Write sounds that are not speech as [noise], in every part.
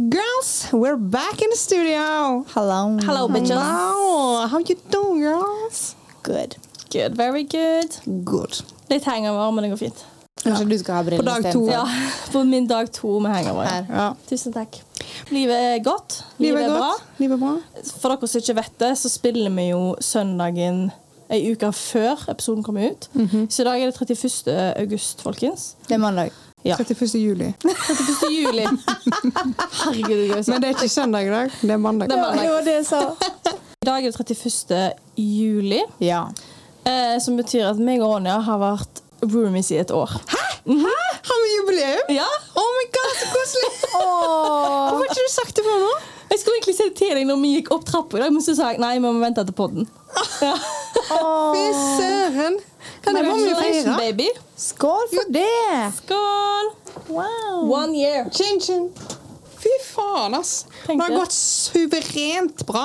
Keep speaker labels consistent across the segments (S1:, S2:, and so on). S1: guys, we're back in the studio.
S2: Hello.
S3: Hello, bitches.
S1: Hello. How you doing, girls?
S2: Good.
S3: Good, very good.
S1: Good.
S3: Litt hangover, men det går fint.
S2: Kanskje du skal ha briller
S1: På dag
S2: i stedet
S1: to.
S2: for-
S3: Ja, [laughs] På min dag to med hangover.
S2: Her.
S1: Ja.
S3: Tusen takk. Livet er godt.
S1: Livet er
S3: bra.
S1: godt. Livet er bra.
S3: For dere som ikke vet det, så spiller vi jo søndagen ei uke før episoden kommer ut.
S1: Mhm.
S3: Så i dag er det 31. august, folkens.
S2: Det er mandag.
S3: Ja.
S1: 31. juli.
S3: 31. juli. [laughs] Herregud, det går jo så
S1: Men det er ikke søndag i dag, det er mandag.
S3: Det er mandag.
S2: var det jeg sa.
S3: I dag er det 31. juli,
S2: Ja.
S3: eh, som betyr at meg og Ronja har vært roomies i et år.
S1: Har vi jubileum?
S3: Ja?
S1: Oh my god, så koselig! Hvorfor har ikke du sagt det før nå?
S3: Jeg skulle egentlig si det til deg når vi gikk opp trappa i dag, men så sa jeg nei, vi må vente til podden. Ja.
S1: Fy søren! Hva er det må vi
S3: Congratulations,
S1: feire?
S3: baby.
S2: Skål for det!
S3: Skål!
S2: Wow.
S3: One year.
S1: Chin, chin. Fy faen, ass.
S3: Tenk
S1: Det har
S3: det.
S1: gått suverent bra.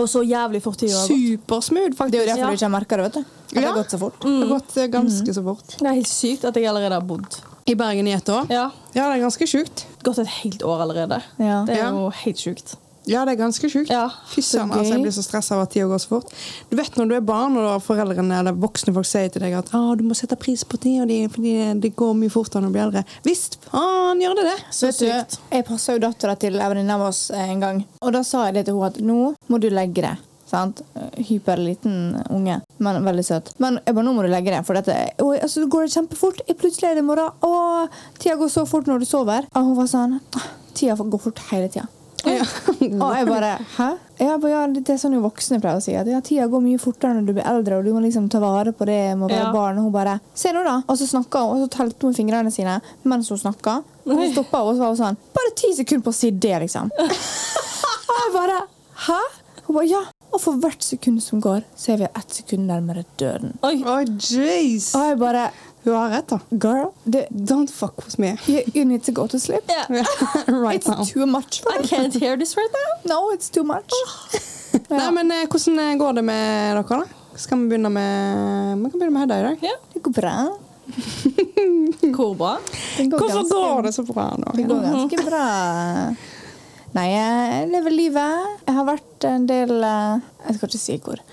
S3: Og så jævlig fort tida har gått.
S1: Supersmooth, faktisk.
S2: Det er jo derfor
S3: Ja.
S2: du ikke har merka det, vet du. At Det
S1: Ja.
S2: har gått så fort.
S1: Det har gått eh, ganske så fort.
S3: Det er helt sykt at jeg allerede har bodd.
S1: I Bergen i ett år?
S3: Ja.
S1: Ja, det er ganske sjukt.
S3: Gått et helt år allerede.
S2: Ja.
S3: Det er
S1: Ja.
S3: jo helt sykt.
S1: Ja, det er ganske sjukt.
S3: Ja,
S1: Fy søren,
S2: så gøy.
S1: altså, jeg blir så stressa av at tida går så fort. Du vet når du er barn og da foreldrene eller voksne folk sier til deg at «Å, du må sette pris på tida di fordi det går mye fortere når du blir eldre. Visst faen gjør det det!
S3: Så
S2: Vet du,
S3: sykt.
S2: jeg passa jo dattera til en venninne av oss eh, en gang. Og da sa jeg det til henne at nå må du legge det. Sant? Eh, Hyperliten unge, men veldig søt. Men jeg bare, nå må du legge det, for dette Oi, altså, går det kjempefort. Jeg plutselig er det i morgen. Å, tida går så fort når du sover. Og hun var sånn «Åh, Tida går fort hele tida.
S1: Ja. Mm.
S2: Og jeg bare Hæ? Jeg bare, ja, det er sånn jo voksne pleier å si. At ja, tida går mye fortere når du blir eldre, og du må liksom ta vare på det med å være
S3: Ja.
S2: barn. Og hun bare Se nå, da! Og så snakka hun, og så telte hun med fingrene sine mens hun snakka. Og så stoppa hun, og så var hun sånn Bare ti sekunder på å si det,
S1: [laughs]
S2: liksom. Og jeg bare Hæ? Hun bare Ja. Og for hvert sekund som går, så er vi ett sekund nærmere døden.
S3: Oi.
S1: [laughs] Å, jeez!
S2: Og jeg bare
S1: Hun har rett, da.
S2: Girl, det,
S1: Don't fuck with me.
S2: you, you need to go to sleep.
S3: Yeah.
S1: [laughs] right
S2: It's
S1: now.
S2: too much.
S3: I can't hear this right now.
S2: No, it's too much.
S1: Nei, men eh, hvordan eh, går det med dere, da? Skal vi begynne med Vi kan begynne med Hedda i dag.
S3: [laughs] Ja.
S2: Det går bra.
S3: Hvor bra.
S2: Det går
S1: Hvorfor
S2: ganske-
S1: går det sånn? Mhm. så bra nå?
S2: Det går ganske bra. Nei, jeg lever livet. Jeg har vært en del eh, Jeg skal ikke si [laughs] hvor.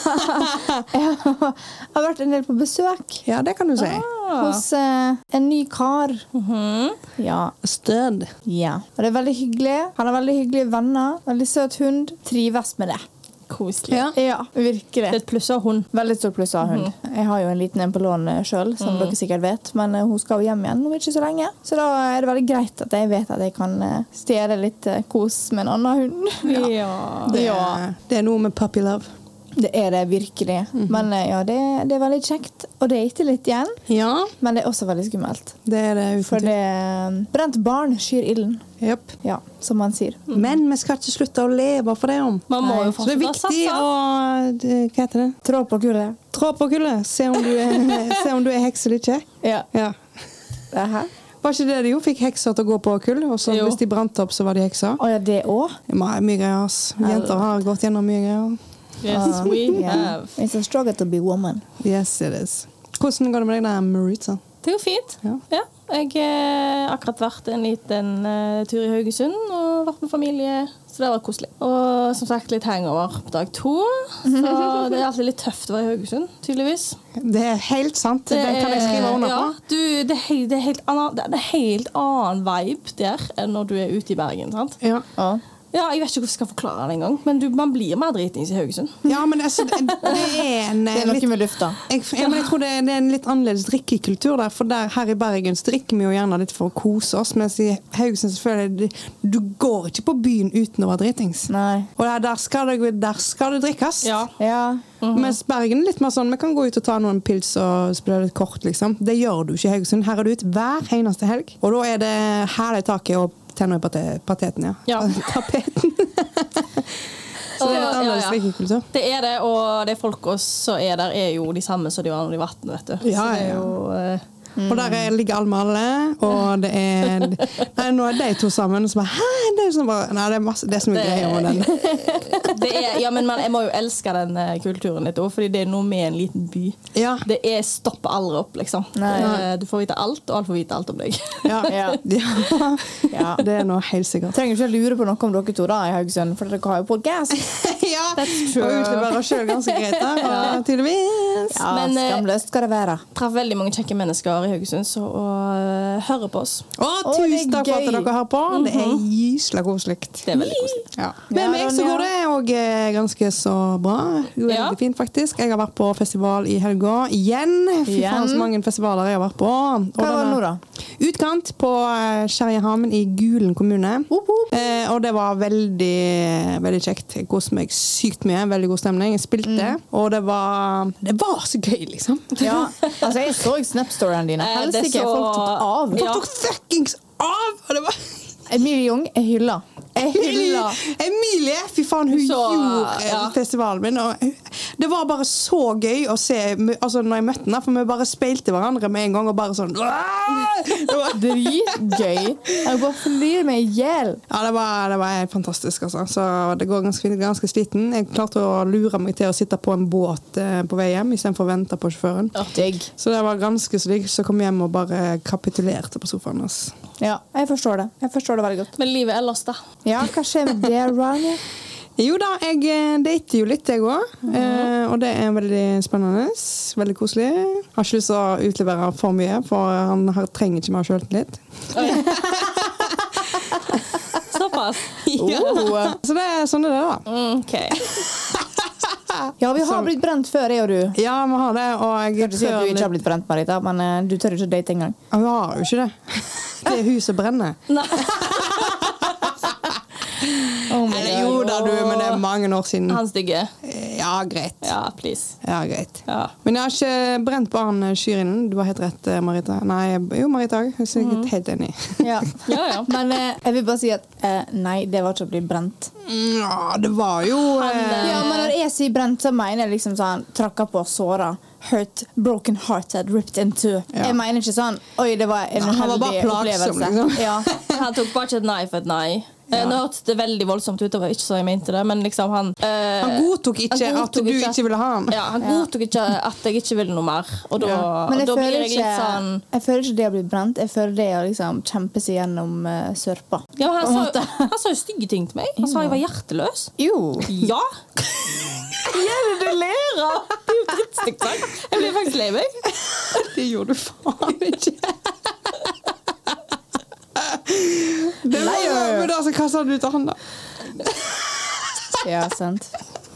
S2: jeg har vært en del på besøk
S1: Ja, det kan du si. Ah.
S2: hos eh, en ny kar.
S1: Mhm.
S2: Ja.
S1: Stød.
S2: ja. Og det er veldig hyggelig. Han har veldig hyggelige venner. Veldig søt hund. Trives med det.
S3: Koselig.
S1: Ja.
S2: Ja,
S3: Det er
S2: virkelig.
S3: et pluss av hund.
S2: Veldig stort pluss av hund. Jeg har jo en liten en på lån eh, sjøl, som dere sikkert vet, men eh, hun skal jo hjem igjen om ikke så lenge. Så da er det veldig greit at jeg vet at jeg kan eh, stjele litt eh, kos med en annen hund.
S3: Ja.
S1: Det,
S2: Ja.
S1: det er noe med puppy love.
S2: Det er det virkelig. Men eh, ja, det, det er veldig kjekt å date litt igjen.
S1: Ja,
S2: Men det er også veldig skummelt.
S1: det er det
S2: For
S1: uten tvil.
S2: det eh, Brent barn skyr ilden.
S1: Jep.
S2: Ja, som man sier.
S1: Men vi skal ikke slutte å leve for det om.
S3: Man må
S2: Nei.
S3: jo
S1: Så det er
S3: fortsatt
S1: viktig
S3: satse.
S1: å eh, Hva heter det?
S2: Trå på kullet.
S1: Trå på kullet. Se om du er, [laughs] se om du er heks eller ikke.
S2: Ja.
S1: Ja.
S2: Det her.
S1: Var ikke det de jo fikk hekser til å gå på kull? Og så
S3: Jo.
S1: hvis de brant opp, så var de hekser?
S2: Å ja, det òg?
S1: Det er Mye greier, ass. Jenter har gått gjennom mye greier.
S3: Yes,
S2: [laughs]
S3: [laughs] we
S2: Yeah.
S3: have.
S2: Ah. It's a struggle to be woman.
S1: Yes, it is. Hvordan går det med deg der, Maritza?
S3: Det går fint.
S1: Ja.
S3: Ja. Jeg eh, har akkurat vært en liten eh, tur i Haugesund og vært med familie, så det har vært koselig. Og som sagt litt hangover på dag to, så [laughs] det er alltid litt tøft å være i Haugesund, tydeligvis.
S1: Det er helt sant. Den kan jeg skrive under
S3: ja,
S1: på.
S3: du, det, er helt, det, er helt annen, det er en helt annen vibe der enn når du er ute i Bergen. sant?
S1: Ja.
S2: Ja.
S3: Ja, Jeg vet ikke hvordan jeg skal forklare det engang, men du, man blir mer dritings i Haugesund.
S1: ja, men altså, det er en
S2: Det er
S1: litt
S2: noe med lufta.
S1: Jeg, ja, men jeg tror det, er- det er en litt annerledes drikkekultur der. For der her i Bergen så drikker vi jo gjerne litt for å kose oss. Mens i Haugesund så føler jeg det- du går ikke på byen uten å være dritings.
S2: Nei.
S1: Og der, der, skal det, der skal det drikkes.
S3: Ja. mhm.
S2: Ja.
S1: Mens Bergen er litt mer sånn vi kan gå ut og ta noen pils og spille litt kort, liksom. Det gjør du ikke i Haugesund. Her er du ute hver eneste helg. Og da er det hæl i taket og tenner i pate- pateten, ja.
S3: Ja.
S1: [laughs] Tapeten. Så det er
S3: Og-
S1: litt
S3: ja,
S1: annerledes
S3: ja.
S1: drikkekultur.
S3: Det er det, og de folka som er der, er jo de samme som de var når de var 18, vet du.
S1: Ja,
S3: Så det er
S1: ja.
S3: jo eh,
S1: Og der er- ligger alle med alle, og det er Nei, nå er de to sammen, og så bare Hæ? Det er, sånn bare, nei, det er, masse, det er så mye
S3: Det-
S1: greier med den.
S3: Det er, ja, men man, jeg må jo elske den eh, kulturen litt òg, fordi det er noe med en liten by.
S1: Ja.
S3: Det er stopper aldri opp, liksom.
S2: Nei.
S3: Eh, Du får vite alt, og alle får vite alt om deg. [laughs]
S1: Ja.
S2: [laughs] Ja.
S1: ja.
S2: Ja.
S1: Det er nå helt sikkert.
S2: Trenger ikke å lure på noe om dere to da i Haugesund, for dere har jo podcast.
S1: ja.
S2: That's true.
S1: Og utleverer oss sjøl ganske greit, da. Og tydeligvis.
S2: Ja,
S3: Men, eh,
S2: skamløst skal det være.
S3: Traff veldig mange kjekke mennesker i Haugesund så, og eh, hører på oss.
S1: Å,
S2: Å, det er
S1: tusen takk for at
S2: gøy.
S1: dere hører på. Det er gysla koselig.
S3: Det er veldig koselig.
S1: Ja.
S2: Ja,
S1: Med meg så
S2: Ronja.
S1: går det òg eh, ganske så bra. Det går
S3: Ja.
S1: Veldig fint, faktisk. Jeg har vært på festival i helga igjen. Fy
S2: Igjen?
S1: faen, så mange festivaler jeg har vært på. Og
S2: Hva var det nå, da?
S1: Utkant på eh, Skjerjehamn i Gulen kommune.
S2: Whoop, whoop.
S1: Eh, og det var veldig, veldig kjekt. Jeg koste meg sykt mye. Veldig god stemning. Jeg spilte, og det var Det var så gøy, liksom.
S2: Ja, altså jeg så Snap-storyene dine.
S3: Eh, det
S2: Helsike,
S3: så-
S2: folk tok av.
S1: Folk
S3: Ja.
S1: tok fuckings av! Og det var
S2: Emilie Jung er hylla. Er hylla.
S1: Emilie! Fy faen, hun
S3: Så,
S1: gjorde eh,
S3: ja.
S1: festivalen min. Og hun- det var bare så gøy å se mu- altså, når jeg møtte henne, for vi bare speilte hverandre med en gang. Og bare sånn «Åh!» det var,
S2: Dritgøy. Jeg bare flyr meg i hjel.
S1: Ja, det var, det var helt fantastisk, altså. Så det går ganske fint. Jeg er Ganske sliten. Jeg klarte å lure meg til å sitte på en båt eh, på vei hjem istedenfor å vente på sjåføren.
S2: Digg.
S1: Så det var ganske så digg. Så kom jeg hjem og bare kapitulerte på sofaen. Altså.
S2: Ja, jeg forstår det. Jeg forstår det veldig godt.
S3: Men livet ellers, da?
S2: Ja, hva skjer med det, Ronja?
S1: Jo da, jeg eh, dater jo litt, jeg òg. Eh, og det er veldig spennende. Veldig koselig. Har ikke lyst til å utlevere for mye, for han har, trenger ikke mer sjøltillit.
S3: [laughs] Såpass?
S2: Oh.
S1: [laughs] Så det er sånn det er, da.
S3: Mm, OK.
S2: Ja, vi har blitt brent før, jeg og du.
S1: Ja, vi har det, og jeg
S2: Skal ikke si at du ikke har
S1: litt-
S2: blitt brent, Marita, men eh, du tør ikke å date engang.
S1: Ja, Hun har jo [laughs] ikke det. Det er huset brenner.
S3: Nei.
S2: Oh my
S1: Eller
S2: God.
S1: jo da, du, men det er mange år siden.
S3: Han stygge.
S1: Ja, greit.
S3: Ja, please.
S1: Ja, greit.
S3: Ja.
S1: Men jeg har ikke brent eh, barn Skyrinden. Du har helt rett, eh, Marita. Nei, jo, Marita òg. Jeg er sikkert helt enig.
S2: Ja.
S3: Ja, ja.
S2: Men eh, jeg vil bare si at eh, nei, det var ikke å bli brent.
S1: Ja, det var jo eh,
S2: Ja, men når jeg sier brent, så mener jeg liksom sånn trakka på, såra, hurt, broken hearted, ripped in two. Jeg mener ikke sånn oi, det var en
S1: Nei, han var
S2: uheldig
S1: bare plagsom,
S2: opplevelse.
S1: liksom.
S2: Ja.
S3: Han tok bare ikke et nei for et nei. Eh, Nå hørtes det veldig voldsomt ut, det var ikke så jeg mente det, men liksom han eh,
S1: Han godtok ikke
S3: han
S1: at
S3: godtok
S1: du ikke ville ha han.
S3: Ja, han godtok ikke at jeg ikke ville noe mer. Og da,
S2: Men
S3: og
S2: jeg,
S3: da blir
S2: føler
S3: jeg
S2: ikke,
S3: litt sånn
S2: jeg føler ikke det å bli brent. Jeg føler det å liksom kjempe seg gjennom eh, sørpa.
S3: ja,
S2: På
S3: men
S2: en
S3: han, sa,
S2: måte.
S3: han sa jo stygge ting til meg. Han sa jeg var hjerteløs.
S2: Jo.
S3: Ja! [laughs] Hva er det du ler av? Det er jo drittstygt sagt. Jeg blir faktisk lei meg.
S1: Det gjorde du faen ikke. Det var,
S2: Liar.
S1: men altså, hva sa du til han, da?
S2: Ja, sant.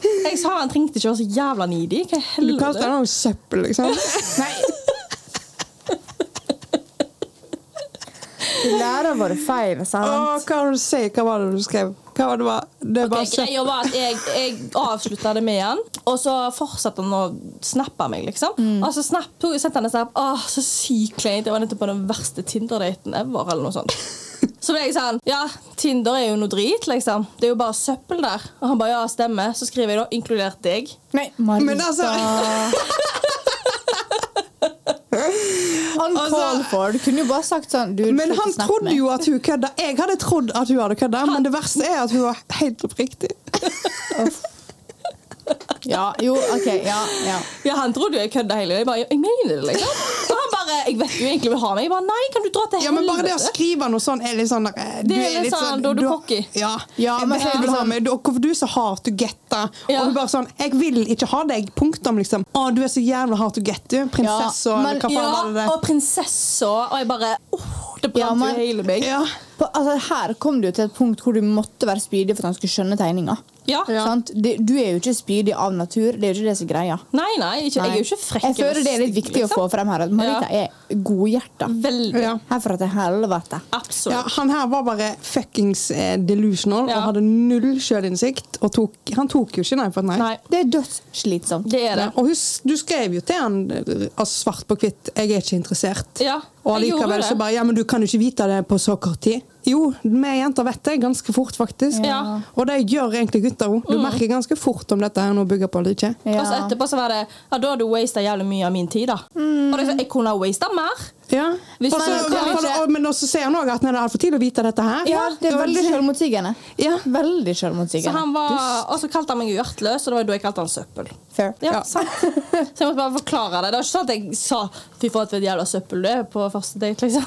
S3: Jeg sa han trengte ikke å være så jævla needy. Hva i
S1: Du kalte
S3: helvete?
S1: han jo søppel, [laughs] liksom.
S2: Du lærer våre feil, sant?
S1: Å, hva var det du sier? Hva var det du skrev? Hva var det, var? det var
S3: Ok,
S1: søppel.
S3: Greia var at jeg, jeg avslutta det med han, og så fortsatte han å snappe meg. liksom.
S1: Mm.
S3: Og så snapp, tog- sendte han en snap. Åh, så sykt kleint. Jeg var nettopp på den verste Tinder-daten ever. eller noe
S1: [laughs]
S3: sånt. Så ble jeg sånn Ja, Tinder er jo noe drit, liksom. Det er jo bare søppel der. Og han bare ja, stemmer. Så skriver jeg da, inkludert deg.
S2: Nei, Marita.
S1: Men altså-
S3: Altså,
S2: Uncalled for. Du kunne jo bare sagt sånn du,
S1: Men
S2: slutt å
S1: han
S2: snakke
S1: trodde
S2: med.
S1: jo at hun kødda. Jeg hadde trodd at hun hadde kødda, men det verste er at hun var helt oppriktig.
S2: Ja, jo, OK. Ja. ja.
S3: Ja, Han trodde jo jeg kødda hele tiden. Jeg bare, jeg mener det, liksom. Og han bare Jeg vet du egentlig vil ha meg. Jeg bare nei, kan du dra til helvete?
S1: Ja, men bare det å skrive noe sånn er litt sånn eh, du
S3: Det er litt sånn, da er du
S1: har-
S3: cocky.
S1: Ja.
S2: Ja,
S1: jeg
S2: men
S1: vet
S2: så er
S1: du
S2: det
S1: vil ha
S2: sånn-
S1: meg. Du- Hvorfor du er så hard to get, da?
S3: Ja.
S1: Og hun bare sånn Jeg vil ikke ha deg. Punktum, liksom. Å, du er så jævla hard to get, du. Prinsesse
S2: Ja,
S1: og
S2: men-
S1: hva faen var det
S3: Ja,
S1: det?
S3: og prinsessa. Og jeg bare åh, Det brant
S2: Ja, men-
S3: jo hele meg.
S1: Ja.
S2: På, altså, her kom du jo til et punkt hvor du måtte være spydig for at han skulle skjønne tegninga.
S3: Ja.
S2: Sant? Det- Du er jo ikke spydig av natur. Det er jo ikke det som er greia.
S3: Nei, nei, ikke, jeg er jo ikke frekk.
S2: Jeg føler det er litt viktig
S3: liksom.
S2: å få frem her at Marita er godhjerta.
S3: Veldig.
S1: Ja.
S2: Herfra til helvete.
S1: ja.
S3: Absolutt.
S1: Han her var bare fuckings eh, delusional
S3: Ja.
S1: og hadde null sjølinnsikt. Og tok, han tok jo ikke nei for et nei.
S3: Nei,
S2: Det er dødsslitsomt.
S3: det er det.
S1: Ja, og hus- du skrev jo til han eh, altså svart på hvitt 'jeg er ikke interessert'.
S3: Ja,
S1: og
S3: jeg gjorde
S1: likevel
S3: det.
S1: så bare 'ja, men du kan jo ikke vite det på så kort tid'. Jo, vi jenter vet det ganske fort, faktisk.
S3: Ja. Mm.
S1: Og det gjør egentlig gutter òg. Du merker ganske fort om dette her nå bygger på eller ikke.
S3: Og så etterpå så var det Ja, da har du wasta jævlig mye av min tid, da. Og det, er sånn, jeg kunne ha wasta mer mer.
S1: Ja.
S3: Hvis
S1: Og så-
S3: man kan
S1: og-
S2: ikke-
S1: og- men også ser han òg at nei, det er altfor tidlig å vite dette her.
S2: Ja, det er
S1: Og-
S2: veldig selvmotsigende.
S1: Ja.
S2: Veldig
S3: Så
S2: selvmotsigende.
S3: han var, og så kalte han meg uertløs, og det var jo da jeg kalte han søppel.
S2: Fair.
S3: Ja,
S1: Ja.
S3: sant. Så jeg måtte bare forklare det. Det var ikke sånn at jeg sa 'fy faen, for et jævla søppel du er' på første date, liksom.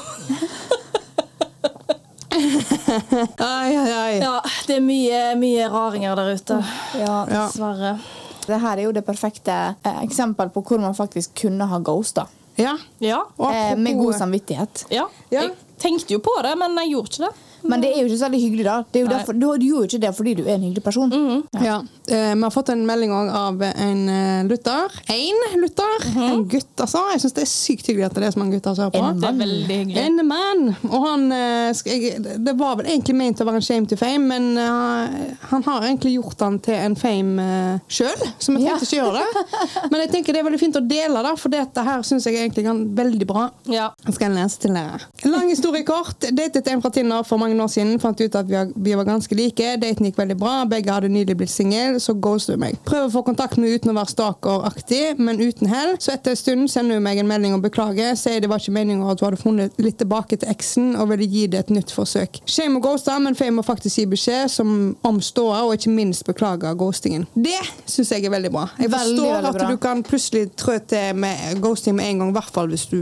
S1: Ai, ai, ai.
S3: Ja, det er mye, mye raringer der ute.
S2: Ja.
S1: Ja.
S3: Dessverre.
S2: Det her er jo det perfekte eh, eksempel på hvor man faktisk kunne ha ghosta.
S1: Ja.
S3: Ja.
S1: Og
S2: Eh, med god
S1: apropos-
S2: samvittighet.
S3: ja.
S1: Ja.
S3: Jeg tenkte jo på det, men jeg gjorde ikke det.
S2: Men det er jo ikke så veldig hyggelig, da. Det er jo
S3: Nei.
S2: derfor, du, du gjorde jo ikke det fordi du er en hyggelig person.
S1: Ja. Eh, vi har fått en melding også av en eh, lytter. Én lytter. En gutt, altså. Jeg syns det er sykt hyggelig at det er så mange gutter som hører på.
S2: Mhm. En
S3: Det er veldig hyggelig.
S1: En mann. Og han eh, sk- jeg, Det var vel egentlig ment å være en shame to fame, men eh, han har egentlig gjort han til en fame uh, sjøl, så vi
S2: Ja.
S1: trengte ikke gjøre
S2: [laughs]
S1: det. Men jeg tenker det er veldig fint å dele, da, for dette her syns jeg egentlig kan veldig bra.
S3: Ja.
S1: Jeg skal lese til dere. Lang historie kort. Datet en fra Tinder for mange år siden. Fant ut at vi var- vi var ganske like. Daten gikk veldig bra. Begge hadde nylig blitt single, så ghoster hun meg. Prøver å få kontakt med uten å være stalkeraktig, men uten hell. Så etter en stund sender hun meg en melding og beklager. Sier det var ikke meningen at hun hadde funnet litt tilbake til eksen og ville gi det et nytt forsøk. Shame å ghoste, men fame må faktisk gi beskjed som om ståa, og ikke minst beklage ghostingen. Det syns jeg er veldig bra. Jeg
S2: Veldig,
S1: forstår
S2: veldig
S1: at
S2: bra.
S1: du kan plutselig trø til med ghosting med en gang, i hvert fall hvis du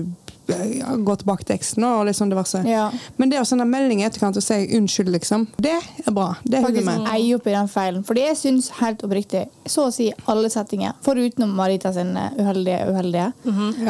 S1: eh, ja, går tilbake til eksen og litt sånn diverse.
S2: Ja.
S1: Men det å sende melding i etterkant og si unnskyld, liksom, det er bra. Det er
S2: Faktisk
S1: humor.
S2: eie opp i den feilen. Fordi jeg syns helt oppriktig, så å si alle settinger, foruten Marita sin eh, uheldige, uheldige,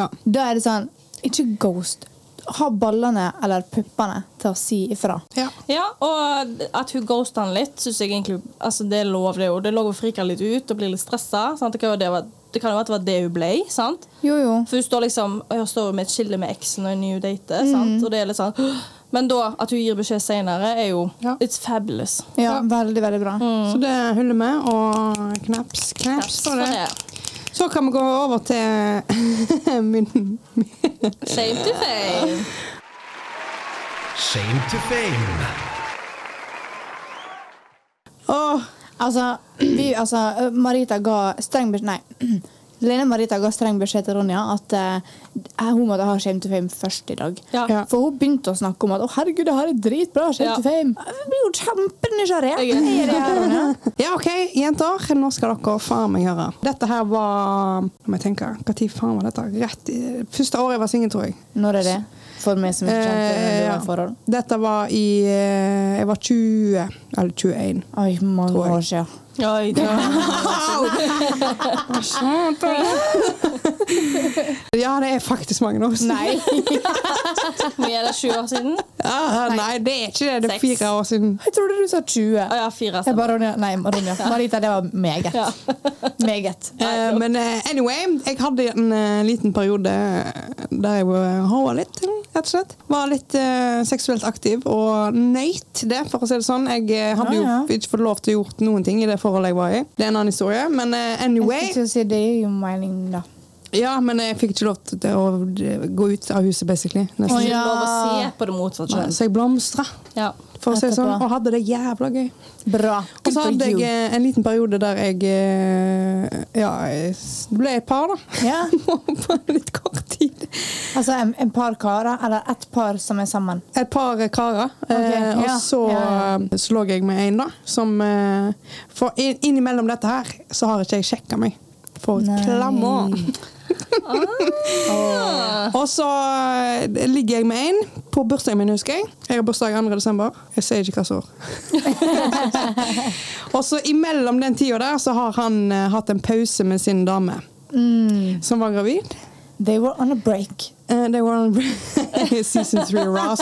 S1: Ja.
S2: da er det sånn Ikke ghost. Ha ballene eller puppene til å si ifra.
S1: Ja.
S3: Ja, og at hun ghosta han litt, syns jeg egentlig altså Det er lov, det er jo. Det er lov å frike litt ut og bli litt stressa. sant? Det kan jo det være- det kan jo være at det var det hun ble. sant?
S2: Jo, jo.
S3: For hun står liksom og jeg står med et skille med eksen og en ny hun dater. sant? Og det er litt sånn «Åh!» Men da, at hun gir beskjed senere, er jo
S1: Ja.
S3: It's fabulous.
S2: Ja, Mm. Veldig, veldig bra.
S1: Så det holder vi, og knaps, knaps på det. Så kan vi gå over til [laughs] min
S3: Shame to fame.
S4: Shame to fame.
S1: Åh,
S2: Altså, vi, altså Marita ga streng beskjed Nei. [clears throat] Lene Marita ga streng beskjed til Ronja at eh, hun måtte ha Shame to Fame først i dag.
S3: Ja.
S1: Ja.
S2: For hun begynte å snakke om at 'Å, herregud, det her er dritbra. Shame
S3: Ja.
S2: to Fame'. Jeg blir jo kjempenysgjerrig.
S3: Jeg er-
S2: Er det her, Ronja?
S1: [laughs] Ja, OK, jenter. Nå skal dere faen meg høre. Dette her var Hva må jeg tenke, hva tid faen var dette? Rett i, Første året jeg var singel, tror jeg.
S2: Når er det? For meg som ikke kjente
S1: Eh,
S2: det
S1: ja.
S2: var i forhold.
S1: Dette var i eh, Jeg var 20, eller 21.
S2: Oi, mange
S1: Tror jeg.
S2: år siden.
S3: Oi, det [laughs]
S1: [laughs]
S2: [laughs]
S1: Ja, det er faktisk mange år siden.
S2: Nei.
S3: Vi er det sju år siden? Å
S1: Ah, nei, det er ikke det. Det er
S3: Seks.
S1: fire år siden.
S2: [laughs] Jeg trodde du sa 20.
S3: ja, fire.
S2: Jeg
S3: stemmer.
S2: bare, Ronja, nei, Ronja. Marita, det var meget.
S3: Ja.
S2: Meget.
S1: Eh, men eh, anyway, jeg hadde en eh, liten periode eh, der jeg var hoa litt, rett og slett. Var litt eh, seksuelt aktiv og nøyt det, for å si det sånn. Jeg eh, hadde
S2: Ja, ja.
S1: jo ikke fått lov til å gjort noen ting i det forholdet jeg var i. Det er en annen historie, men eh, anyway.
S2: Jeg skulle si, det er jo mening, da.
S1: Ja, men jeg fikk ikke lov til å gå ut av huset, basically.
S3: Det
S1: Nesten.
S3: er
S2: Å, ja.
S3: Lov å se på det motsatte kjønn.
S1: Så jeg blomstra,
S3: Ja.
S1: for å si det sånn,
S2: Etterpå.
S1: og hadde det jævla gøy.
S2: Bra.
S1: Og så
S2: Good for
S1: hadde jeg
S2: you.
S1: eh, en liten periode der jeg eh, Ja, jeg s- det ble et par, da.
S2: Ja.
S1: [laughs] På litt kort tid.
S2: Altså en, en par karer, eller ett par som er sammen.
S1: Et par eh, karer. eh,
S2: Ok,
S1: og
S2: ja.
S1: så,
S2: Ja,
S1: eh, så lå jeg med en, da, som eh, For inn- innimellom dette her, så har ikke jeg sjekka meg. For
S2: Nei.
S1: et klammer.
S2: [laughs] Ah.
S1: Og så eh, ligger jeg med en på bursdagen min, husker jeg. Jeg har bursdag 2. desember. Jeg sier ikke hva som
S2: [laughs]
S1: Og så imellom den tida der, så har han eh, hatt en pause med sin dame.
S2: Mm.
S1: Som var gravid.
S2: They were on a break.
S1: Eh, they were on [laughs] season three Ross.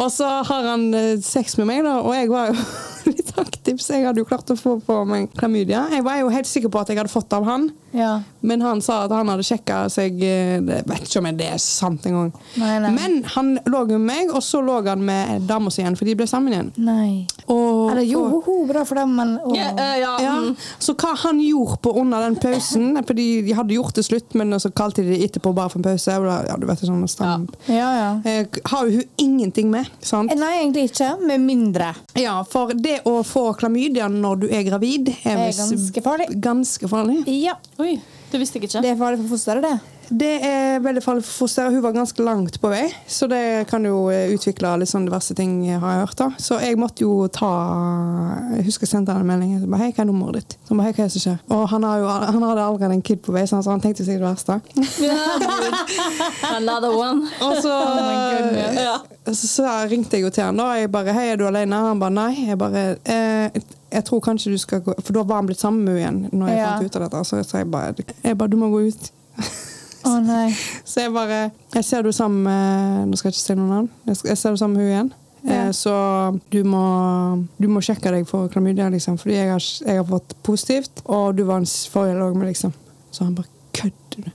S1: og så har han eh, sex med meg, da, og jeg var jo [laughs] litt aktiv, så jeg hadde jo klart å få på meg klamydia. Jeg var jo helt sikker på at jeg hadde fått det av han.
S2: Ja.
S1: Men han sa at han hadde sjekka seg eh, Jeg vet ikke om det er sant engang.
S2: Nei, nei.
S1: Men han lå med meg, og så lå han med dama si igjen, for de ble sammen igjen.
S2: Nei.
S1: Og,
S2: Eller jo,
S1: og-
S2: hoho, bra for dem, men å.
S3: Ja, eh, ja.
S1: ja.
S3: mm.
S1: Så hva han gjorde på under den pausen For de, de hadde gjort det slutt, men så kalte de det etterpå bare for en pause. og da- Ja, du vet, det er sånn stram.
S2: Ja, ja.
S1: Eh, har jo hun ingenting med. sant?
S2: Eh, Nei, egentlig ikke. Med mindre.
S1: Ja, For det å få klamydia når du er gravid, er,
S2: Det er
S1: visst
S2: Eh, ganske farlig.
S1: ganske farlig.
S2: Ja.
S3: Oi, det visste jeg ikke.
S2: Det er farlig for fosteret, det.
S1: Det er veldig farlig for fosteret. Hun var ganske langt på vei, så det kan jo eh, utvikle litt sånn diverse ting, eh, har jeg hørt. da. Så jeg måtte jo ta Jeg husker jeg sendte han en melding. Jeg ba, hei, hva er nummeret ditt? Så han ba, hei, hva er det som skjer? Og han, har jo, al- han hadde allerede en kid på vei, så han- så han tenkte seg det verste.
S3: [laughs] Another one.
S1: Og så,
S2: Oh goodness.
S1: ja. så, så ringte jeg jo til han da. Jeg bare 'Hei, er du alene?' Han bare 'Nei'. Jeg bare eh, 'Jeg tror kanskje du skal gå For da var han blitt sammen med henne igjen. Når jeg
S2: Ja.
S1: fant ut av dette. Så jeg sa jeg bare, jeg bare 'Du må gå ut'. [laughs]
S2: Å nei.
S1: Så jeg bare Jeg ser du sammen med Nå skal jeg ikke si noen navn. Jeg, skal, jeg ser du sammen med hun igjen. Eh,
S2: Ja.
S1: så du må, du må sjekke deg for klamydia, liksom. Fordi jeg har, jeg har fått positivt, og du var hans forrige lag med, liksom. Så han bare Kødder du?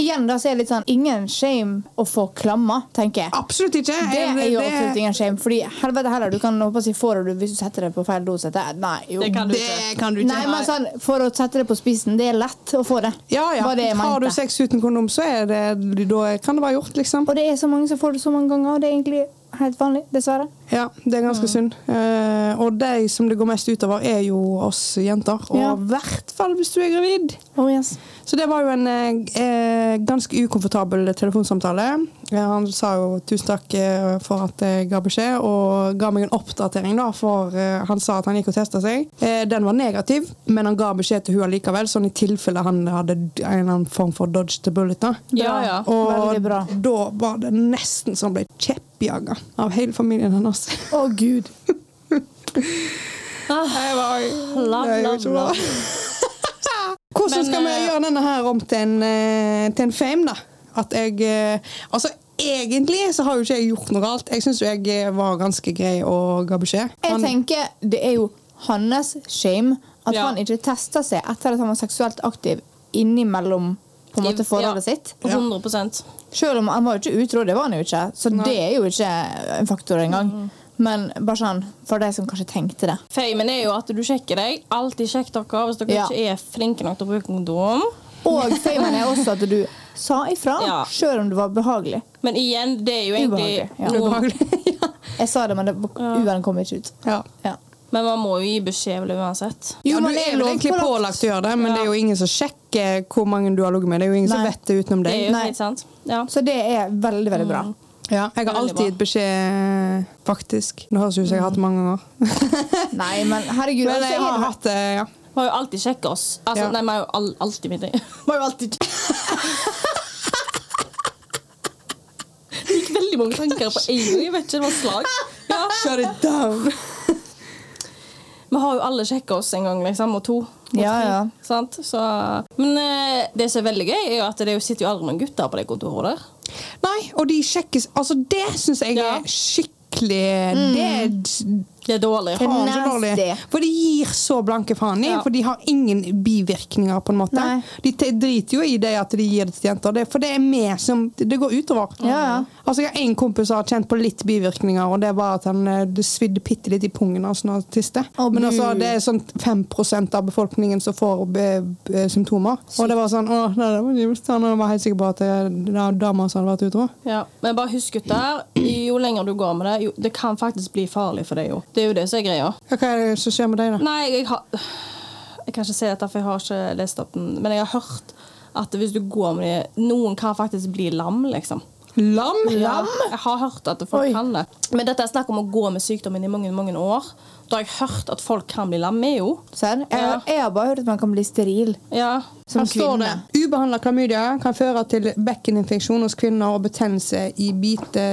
S2: Igjen da så er det litt sånn ingen shame å få klamma, tenker jeg.
S1: Absolutt ikke!
S2: Det
S1: Jeg-
S2: er jo
S1: Ah, det-
S2: absolutt ingen shame, fordi helvete heller, du kan håpe å si får du hvis du setter det på feil dosette. Nei, jo.
S3: Det kan du ikke.
S1: Det kan du ikke.
S2: Nei, men sånn, for å sette det på spissen, det er lett å få det.
S1: Ja, ja.
S2: Var det jeg
S1: Har du
S2: mente.
S1: sex uten kondom, så er det, da kan det være gjort, liksom.
S2: Og det er så mange som får det så mange ganger, og det er egentlig helt vanlig, dessverre.
S1: Ja, det er
S2: Mm.
S1: ganske synd. Eh, og de som det går mest utover, er jo oss jenter. Og i
S2: Ja.
S1: hvert fall hvis du er gravid.
S2: Oh yes.
S1: Så det var jo en eh, eh, ganske ukomfortabel telefonsamtale. Eh, Han sa jo tusen takk eh, for at jeg ga beskjed, og ga meg en oppdatering, da, for eh, han sa at han gikk og testa seg. Eh, Den var negativ, men han ga beskjed til hun likevel, sånn i tilfelle han hadde en eller annen form for dodge the bullet. da.
S3: Ja, ja.
S1: Og
S2: Veldig bra.
S1: da var det nesten som ble kjeppjaga av hele familien hennes.
S2: Å gud.
S3: Ah,
S1: Jeg var, [laughs]
S3: Love,
S1: det er jo
S3: love,
S1: ikke bra.
S3: love.
S1: [laughs] Hvordan
S3: Men,
S1: skal vi
S3: eh,
S1: gjøre denne her om til en, eh, til en fame, da? At jeg eh, Altså, egentlig så har jo ikke jeg gjort noe galt. Jeg syns jo jeg eh, var ganske grei og ga beskjed.
S2: Jeg
S1: [laughs] Han-
S2: tenker det er jo hans shame at
S3: Ja.
S2: han ikke testa seg etter at han var seksuelt aktiv innimellom på en måte
S3: I-
S2: forholdet
S3: ja.
S2: sitt.
S3: 100
S2: Selv om han var jo ikke utro, det var han jo ikke, så det er jo ikke en faktor engang. Men bare sånn, for de som kanskje tenkte det.
S3: Famen er jo at du sjekker deg. Alltid sjekk dere hvis dere
S2: Ja.
S3: ikke er flinke nok til å bruke kondom.
S2: Og famen er også at du sa ifra,
S3: Ja.
S2: selv om det var behagelig.
S3: Men igjen, det er jo egentlig
S2: Ubehagelig, ja.
S3: noe,
S1: Ubehagelig. [laughs] ja.
S2: Jeg sa det, men det, uren kom ikke ut.
S1: ja.
S2: Ja.
S3: Men man må jo gi beskjed vel uansett.
S2: Jo,
S1: ja, du
S2: men det er
S1: er vel
S2: lov
S1: egentlig
S2: pålagt.
S1: pålagt å gjøre det, men
S3: Ja.
S1: det er jo ingen som sjekker hvor mange du har ligget med. Det er jo ingen som
S2: Nei.
S1: vet det utenom
S3: Det
S1: deg.
S3: er jo
S2: Nei.
S3: helt sant. Ja.
S2: Så det er veldig, veldig bra.
S1: Ja, jeg har
S3: Veldig
S1: alltid gitt beskjed, faktisk. Det høres ut som jeg har hatt det mange ganger.
S2: Nei, men herregud.
S1: Men
S2: altså,
S1: jeg har hatt det, ja.
S3: Man har jo alltid sjekka oss. Altså,
S1: Ja.
S3: Nei, man har jo all, alltid med [laughs] det. Man har jo alltid Det gikk veldig mange tanker på en gang. Jeg vet ikke, det var slag. Ja.
S1: Shut it down!
S3: Vi har jo alle sjekka oss en gang, liksom, og to. og
S2: Ja,
S3: tre,
S2: ja.
S3: Sant? Så, men eh, det som er veldig gøy, er jo at det jo sitter jo aldri noen gutter på det kontoret der.
S1: Nei, og de sjekkes Altså, det syns jeg
S3: Ja.
S1: er skikkelig Det er d-
S3: Det er dårlig.
S2: Det er
S1: faen så
S2: nasty.
S1: dårlig. For de gir så blanke faen i,
S3: Ja.
S1: for de har ingen bivirkninger, på en måte.
S2: Nei.
S1: De te- driter jo i det at de gir det til jenter, det, for det er vi som Det går utover.
S2: Ja, ja.
S1: Altså, jeg har en kompis som har kjent på litt bivirkninger, og det var at han eh, det svidde bitte litt i pungen altså, når han tiste.
S2: Å,
S1: Men
S2: bu.
S1: altså, det er sånn 5 av befolkningen som får be- be- symptomer. Og det var sånn Å, nei, det var jævlig." Han var helt sikker på at det var dama som hadde vært utro.
S3: Ja, men bare husk gutter, jo lenger du går med det, jo, det kan faktisk bli farlig for deg. jo. Det er jo det som er greia.
S1: Ja, Hva er det som skjer med deg, da?
S3: Nei, jeg har Jeg kan ikke si dette, for jeg har ikke lest opp den. Men jeg har hørt at hvis du går med det Noen kan faktisk bli lam, liksom.
S1: Lam?
S3: Ja, Jeg har hørt at folk
S2: Oi.
S3: kan det. Men dette er snakk om å gå med sykdommen i mange mange år. Da har jeg hørt at folk kan bli lamme, jo.
S2: Serr? Jeg,
S3: Ja.
S2: jeg har bare hørt at man kan bli steril
S3: Ja.
S2: som
S1: Her står
S2: kvinne.
S1: det ubehandla klamydia kan føre til bekkeninfeksjon hos kvinner og betennelse i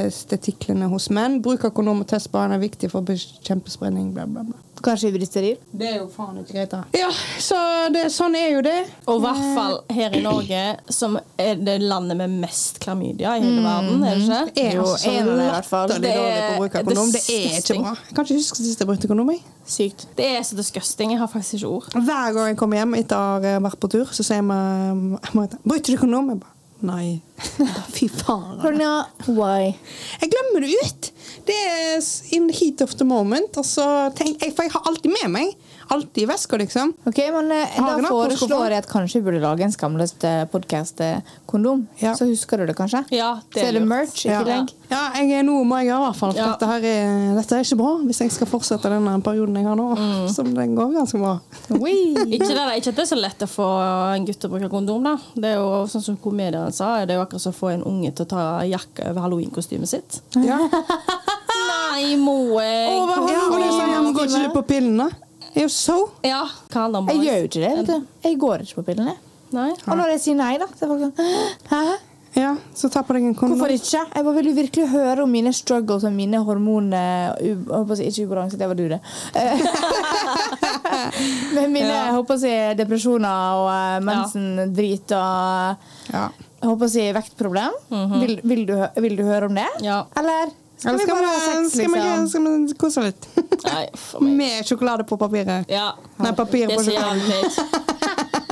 S1: bitestetiklene hos menn. Bruk av kondom og testbarn er viktig for å bekjempe spredning. Bla, bla, bla.
S2: Kanskje vi blir steril?
S1: Det er jo faen ikke greit, da. Ja, så det, sånn er jo det.
S3: Og i hvert fall her i Norge, som er det landet med mest klamydia i
S2: Mm.
S3: hele verden. er det ikke?
S1: Er
S2: Jo,
S1: altså
S2: en av dem i hvert fall.
S1: latterlig
S3: Det er
S1: dårlig på å bruke kondom. Det er ikke
S3: disgusting.
S1: bra. Jeg kan ikke huske sist jeg brukte kondom. jeg.
S2: Sykt.
S3: Det er så disgusting. Jeg har faktisk ikke ord.
S1: Hver gang jeg kommer hjem etter å ha vært på tur, så sier vi Marita, 'Brukte du kondom?' Jeg bare [laughs] Nei. Fy faen. altså.
S2: Cornelia, why?
S1: Jeg glemmer det ut. Det er s- in the heat of the moment. Og så tenk, jeg, for jeg har alltid med meg. alltid i veska, liksom.
S2: Ok, men eh,
S1: Hagen
S2: Da
S1: har postkoffer.
S2: foreslår jeg at kanskje vi burde lage en skamløst podkast-kondom.
S1: Ja.
S2: Så husker du det kanskje?
S3: Ja, det
S2: så
S3: er
S2: er det
S3: lurt.
S2: merch i
S1: Ja.
S2: tillegg.
S1: Ja, jeg er nå må jeg gjøre i hvert fall. For
S3: Ja.
S1: dette, her er, dette er ikke bra hvis jeg skal fortsette denne perioden jeg har nå. Som den går ganske bra.
S2: Oi.
S3: [laughs] Ikke, det, da. ikke at det er så lett å få en gutt til å bruke kondom. da. Det er jo sånn som komedieren sa, det er jo akkurat som å få en unge til å ta jakke over halloweenkostymet sitt.
S1: Ja.
S3: [laughs] Nei, må jeg
S1: Og hva ja, og det er sånn, ja, men Går ikke du på pillene? Er jo så.
S3: Ja, hva handler om
S2: Jeg
S3: boys?
S2: gjør jo ikke det. vet du. Jeg går ikke på pillene.
S3: Nei.
S2: Og når jeg sier nei, da, så er folk sånn [gasps] Hæ?
S1: Ja, så ta på deg en kondom.
S2: Hvorfor ikke? Jeg bare vil jo virkelig høre om mine struggles og mine hormoner u- jeg håper å si, Ikke ubalanse, det var du, det. Eh, Men mine jeg håper å si, depresjoner og eh, mensen-drit og
S1: Ja.
S2: jeg håper å si vektproblem. vil, vil, du, hø- vil du høre om det?
S3: Ja.
S2: Eller skal
S1: Eller
S2: vi bare ha sex,
S1: skal vi,
S2: liksom?
S1: skal vi kose litt?
S3: Nei, for meg.
S1: Med sjokolade på papiret.
S3: Ja.
S1: Nei, papiret
S3: Det er
S1: på
S3: så
S1: sjokoladen.
S3: jævlig
S2: [laughs]
S3: teit.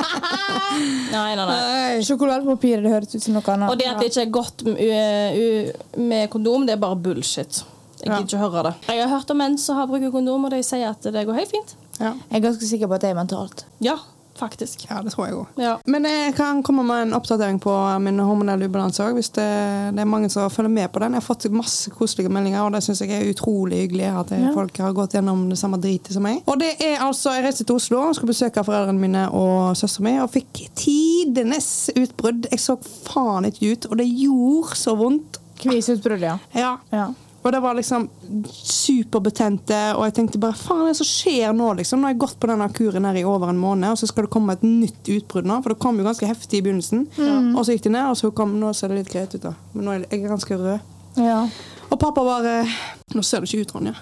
S3: Nei, nei, nei.
S2: Sjokoladepapir, det høres ut som noe annet.
S3: Og det at det ikke er godt m- u- u- med kondom, det er bare bullshit. Jeg
S1: Ja.
S3: gidder ikke høre det. Jeg har hørt om menn som har brukt kondom, og de sier at det går helt fint.
S1: Ja.
S2: Jeg er ganske sikker på at det er mentalt.
S3: Ja, faktisk.
S1: ja, det tror jeg òg.
S3: Ja.
S1: Men jeg kan komme med en oppdatering på min hormonelle ubalanse òg, hvis det, det er mange som følger med på den. Jeg har fått masse koselige meldinger, og det syns jeg er utrolig hyggelig. At eh, folk har gått gjennom det samme dritet som meg. Og det er altså, Jeg reiste til Oslo og skulle besøke foreldrene mine og søsteren min, og fikk tidenes utbrudd. Jeg så faen ikke ut, og det gjorde så vondt.
S2: Kviseutbrudd, ja.
S1: Ja.
S2: ja.
S1: Og det var liksom superbetente, og jeg tenkte bare faen, hva er det som skjer nå, liksom? Nå har jeg gått på denne kuren her i over en måned, og så skal det komme et nytt utbrudd nå, for det kom jo ganske heftig i begynnelsen. Og så gikk det ned, og så kom Nå ser det litt greit ut, da. Men nå er jeg ganske rød.
S2: ja.
S1: Og pappa bare Nå ser du ikke ut, Ronja.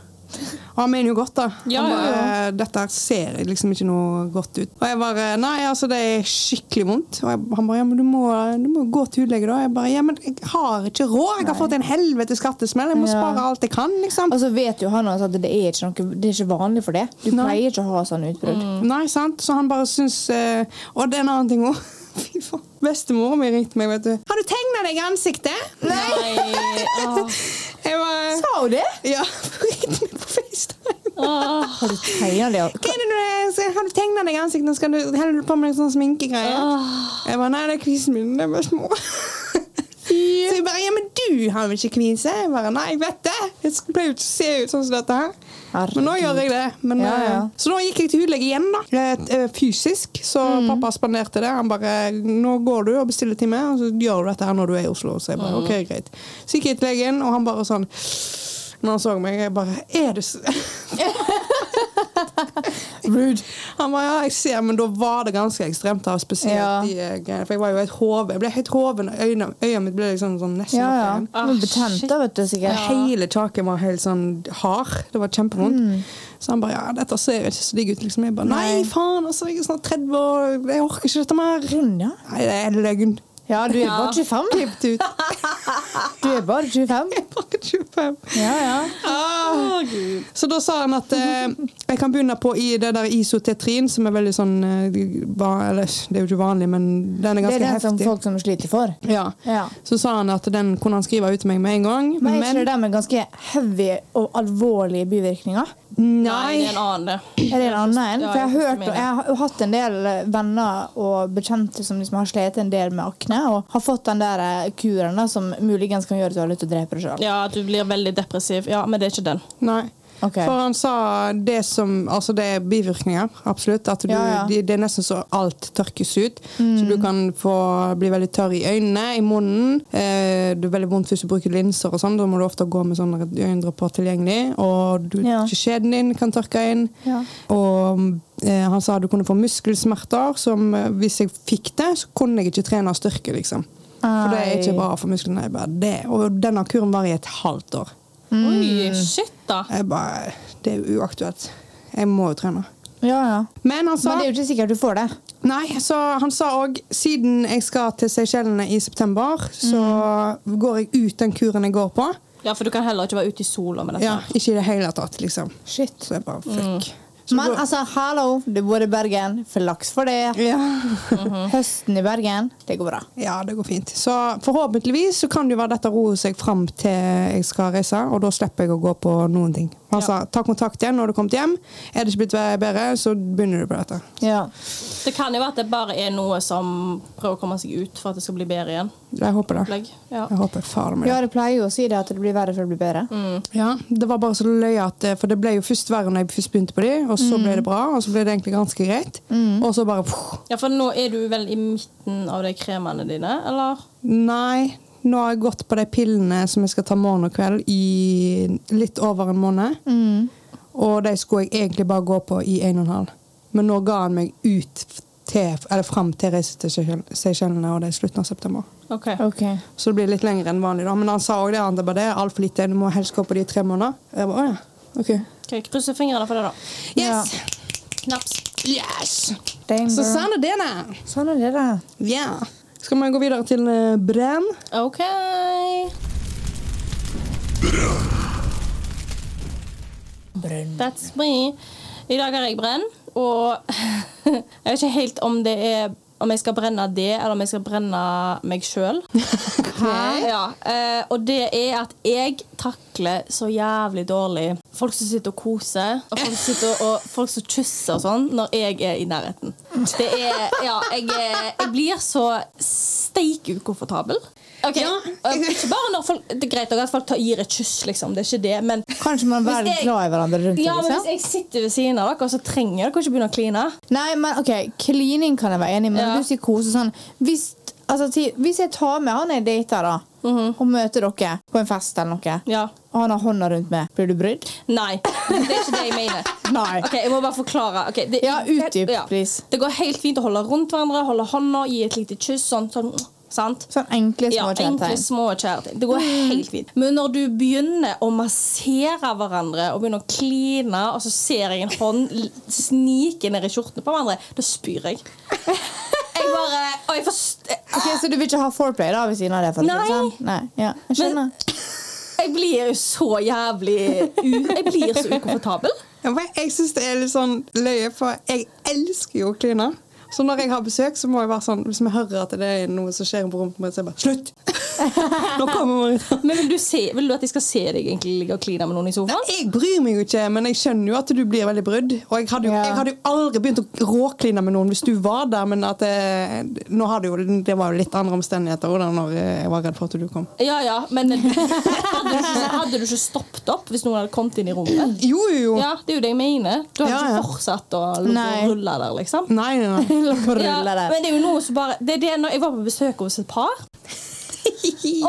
S1: Og han mener jo godt, da.
S3: Ja,
S1: han
S3: ja,
S1: bare, Dette ser liksom ikke noe godt ut. Og jeg bare Nei, altså, det er skikkelig vondt. Og jeg, han bare Ja, men du må, du må gå til hudlege, da. Jeg bare Ja, men jeg har ikke råd. Jeg har fått en helvetes skattesmell. Jeg må
S2: Ja.
S1: spare alt jeg kan, liksom.
S2: Og så
S3: Altså,
S2: Altså, vet jo han også at det er ikke, noe, det er ikke vanlig for det. Du
S1: Nei.
S2: pleier ikke å ha sånne utbrudd.
S1: Mm. Nei, sant? Så han bare syns eh, Og det er en annen ting òg. [laughs] Fy faen. Bestemor mi ringte meg, vet du. Har du tegna deg i ansiktet?
S3: Nei. Åh.
S1: [laughs] Jeg bare
S2: Sa hun det?
S1: Ja, [laughs] hun ringte meg på FaceTime.
S3: Åh.
S2: Har du tegna det?
S1: Hva er det du er? Så Har du tegna deg i ansiktet? og Skal du, heller du på med sånn sminkegreie? Jeg bare, nei, det er kvisen min. Det er bare
S2: [laughs]
S1: små. Så jeg bare, ja, men du har jo ikke kvise. Jeg bare, nei, jeg vet det. Jeg skulle- pleier jo ikke å se ut sånn som dette her. Men nå gjør jeg det. Men,
S2: Ja, ja.
S1: eh, Så da gikk jeg til hudlege igjen, da. Eh, eh, Fysisk. Så
S2: Mm.
S1: pappa spanderte det. Han bare 'Nå går du og bestiller time, og så gjør du dette her når du er i Oslo.' Så jeg bare,
S2: Mm.
S1: ok, greit. Så gikk jeg til legen, og han bare sånn Når han så meg, jeg bare 'Er du s- [laughs]
S2: Rude.
S1: Han bare, ja, jeg ser, men da var det ganske ekstremt da, spesielt
S2: Ja.
S1: de eh, greiene. For jeg var jo helt hoven. Jeg ble helt hoven, og øynene, øynene mitt ble liksom sånn nesten
S2: Ja,
S1: opp
S2: ja.
S1: igjen.
S2: Du er betent da, vet du sikkert.
S1: Hele taket var helt sånn hard. Det var kjempevondt. Så han bare, ja, dette ser jo ikke så digg ut, liksom. Jeg bare, nei,
S2: Mm. Nei.
S1: faen, altså, jeg er snart 30 år, jeg orker ikke dette mer.
S2: Ronja?
S1: Nei, det er løgn. [laughs]
S2: Ja, du er
S3: Ja.
S2: bare [laughs] 25.
S1: Klippet ut.
S2: Du er bare 25.
S1: Jeg er bare 25.
S2: Ja, ja.
S1: Ah. Så da sa han at eh, jeg kan begynne på i det der isotetrin, som er veldig sånn eh, va- Eller det er jo ikke vanlig, men den er
S2: Det
S1: ganske
S2: er det
S1: heftig.
S2: som folk som sliter for.
S1: Ja.
S2: Ja.
S1: Så sa han at den kunne han skrive ut til meg med en gang.
S2: Men er ikke det
S1: Men
S2: der med ganske heavy og alvorlige bivirkninger?
S3: Nei, det er
S1: nei.
S3: en annen, det.
S2: Er det en annen en?
S3: Ja,
S2: For jeg har
S3: jeg
S2: hørt,
S3: mener.
S2: og jeg har jo hatt en del venner og bekjente som liksom har slitt en del med akne, og har fått den der eh, kuren da, som muligens kan gjøre at du har lyst til å drepe deg sjøl.
S3: Ja, du blir veldig depressiv. Ja, men det er ikke den.
S1: nei.
S2: Ok.
S1: For han sa det som Altså, det er bivirkninger, absolutt. At du,
S2: Ja, Mm. ja.
S1: Det, det er nesten så alt tørkes ut. Så du kan få bli veldig tørr i øynene, i munnen. Eh, det er veldig vondt hvis du bruker linser og sånn. Da må du ofte gå med sånne øyendråper tilgjengelig. Og du,
S2: Ja.
S1: skjeden din kan tørke inn.
S2: Ja.
S1: Og eh, han sa du kunne få muskelsmerter, som eh, hvis jeg fikk det, så kunne jeg ikke trene styrke, liksom. For det er ikke
S2: Nei.
S1: bra for musklene. Jeg bare, det. Og denne kuren var i et halvt år.
S3: Oi, shit, da.
S1: Jeg bare, Det er jo uaktuelt. Jeg må jo trene.
S2: Ja, ja.
S1: Men han sa
S2: Men det er jo ikke sikkert du får det.
S1: Nei, så han sa òg siden jeg skal til Seychellene i september, så
S2: Mm.
S1: går jeg ut den kuren jeg går på.
S3: Ja, for du kan heller ikke være ute i sola med dette.
S1: Ja, ikke i det hele tatt, liksom.
S2: Shit.
S1: Så jeg bare
S2: Mm.
S1: fuck. Så
S2: Men
S1: da-
S2: altså, hallo, du bor i Bergen. Flaks for det.
S1: ja.
S2: [laughs] Høsten i Bergen, det går bra.
S1: Ja, det går fint. Så forhåpentligvis så kan det jo være dette roer seg fram til jeg skal reise, og da slipper jeg å gå på noen ting. Han
S3: Ja.
S1: sa ta kontakt igjen når du har kommet hjem. Er det ikke blitt bedre, så begynner du på dette.
S2: Ja.
S3: Det kan jo være at det bare er noe som prøver å komme seg ut for at det skal bli bedre igjen.
S1: Jeg håper det.
S3: Opplegg. Ja.
S1: Jeg håper faen meg det.
S2: ja, det pleier jo å si det at det blir verre før det blir bedre.
S1: Ja, det var bare så løye at eh, For det ble jo først verre når jeg først begynte på de, og så ble det bra, og så ble det egentlig ganske greit. Og så bare pff,
S3: ja, for nå er du vel i midten av de kremene dine, eller?
S1: Nei, nå har jeg gått på de pillene som jeg skal ta morgen og kveld i litt over en måned. Og de skulle jeg egentlig bare gå på i en og en halv. Men nå ga han meg ut til, eller fram til reise til Seychell- Seychellene, og det er slutten av september.
S3: OK.
S2: Ok.
S1: Så det blir litt lenger enn vanlig, da. Men han sa òg det, han det er bare det er altfor lite, du må helst gå på de i tre måneder. Jeg bare, «Å ja, ok.
S3: Ok, Krysse fingrene for det, da.
S2: Ja.
S1: Yes!
S3: Knaps.
S1: Yes!
S2: Dang,
S1: Så
S2: girl.
S1: sånn er det, da.
S2: Sånn er det, da.
S1: Ja. Skal vi gå videre til eh, Brenn?
S3: OK. That's me. I dag har jeg brenn, og [laughs] jeg vet ikke helt om det er om jeg skal brenne det, eller om jeg skal brenne meg sjøl. Ja, eh, og det er at jeg takler så jævlig dårlig folk som sitter og koser, og folk som, sitter og, og folk som kysser og sånn, når jeg er i nærheten. Det er Ja, jeg, er- jeg blir så steik ukomfortabel. Ok,
S1: Ja.
S3: og Ikke bare når folk Det er greit nok at folk tar, gir et kyss, liksom, det er ikke det, men
S2: Kanskje man
S3: Hvis
S2: være
S3: jeg-
S2: glad i hverandre rundt det,
S3: ja, men
S2: liksom?
S3: hvis jeg sitter ved siden av dere, så trenger dere ikke begynne å kline.
S2: Nei, men ok, klining kan jeg være enig i, men
S3: Ja.
S2: du sier kose sånn hvis, altså, ti- hvis jeg tar med han jeg dater, da,
S3: Mhm.
S2: og møter dere på en fest eller noe,
S3: Ja.
S2: og han har hånda rundt meg, blir du brydd?
S3: Nei, det er ikke det jeg mener.
S2: [laughs] Nei.
S3: Ok, Jeg må bare forklare. Ok, det,
S2: Ja, utdyp,
S3: det- ja.
S2: please.
S3: Det går helt fint å holde rundt hverandre, holde hånda, gi et lite kyss. sånn, sånn sant?
S2: Sånn enkle
S3: Ja,
S2: små
S3: enkle,
S2: kjærtegn. Mm.
S3: små kjærtegn. Det går helt fint. Men når du begynner å massere hverandre og begynner å kline, og så ser jeg en hånd l- snike ned i skjortene på hverandre, da
S2: [laughs]
S3: spyr jeg. Jeg bare Og jeg forstår
S2: Ok, Så du vil ikke ha foreplay da, ved siden av det? For å si det
S3: Nei.
S2: sånn? Nei. Ja, jeg skjønner.
S3: Jeg blir jo så jævlig u Jeg blir så ukomfortabel.
S1: Ja, for Jeg syns det er litt sånn løye, for jeg elsker jo å kline. Så når jeg har besøk, så må jeg være sånn, hvis vi hører at det er noe som skjer på rommet mitt, så er jeg bare Slutt! [laughs] Nå kommer Marita.
S3: Men vil du, se, vil du at jeg skal se deg egentlig ligge og kline med noen i sofaen?
S1: Jeg bryr meg jo ikke, men jeg skjønner jo at du blir veldig brydd. Og jeg hadde jo,
S2: Ja.
S1: jeg hadde jo aldri begynt å råkline med noen hvis du var der, men at eh, nå hadde jo, det var jo litt andre omstendigheter også da når eh, jeg var redd for at du kom.
S3: Ja, ja, men [laughs] hadde du, ikke, hadde du ikke stoppet opp hvis noen hadde kommet inn i rommet?
S1: Jo, jo, jo.
S3: Ja, det er jo det jeg mener. Du hadde
S1: Ja, ja.
S3: ikke fortsatt å ligge
S2: Nei.
S3: og rulle der, liksom.
S1: Nei, nei, nei.
S3: [laughs] Ja,
S2: rulle der.
S3: men det er jo noe som bare Det er det når jeg var på besøk hos et
S1: [laughs]
S3: par,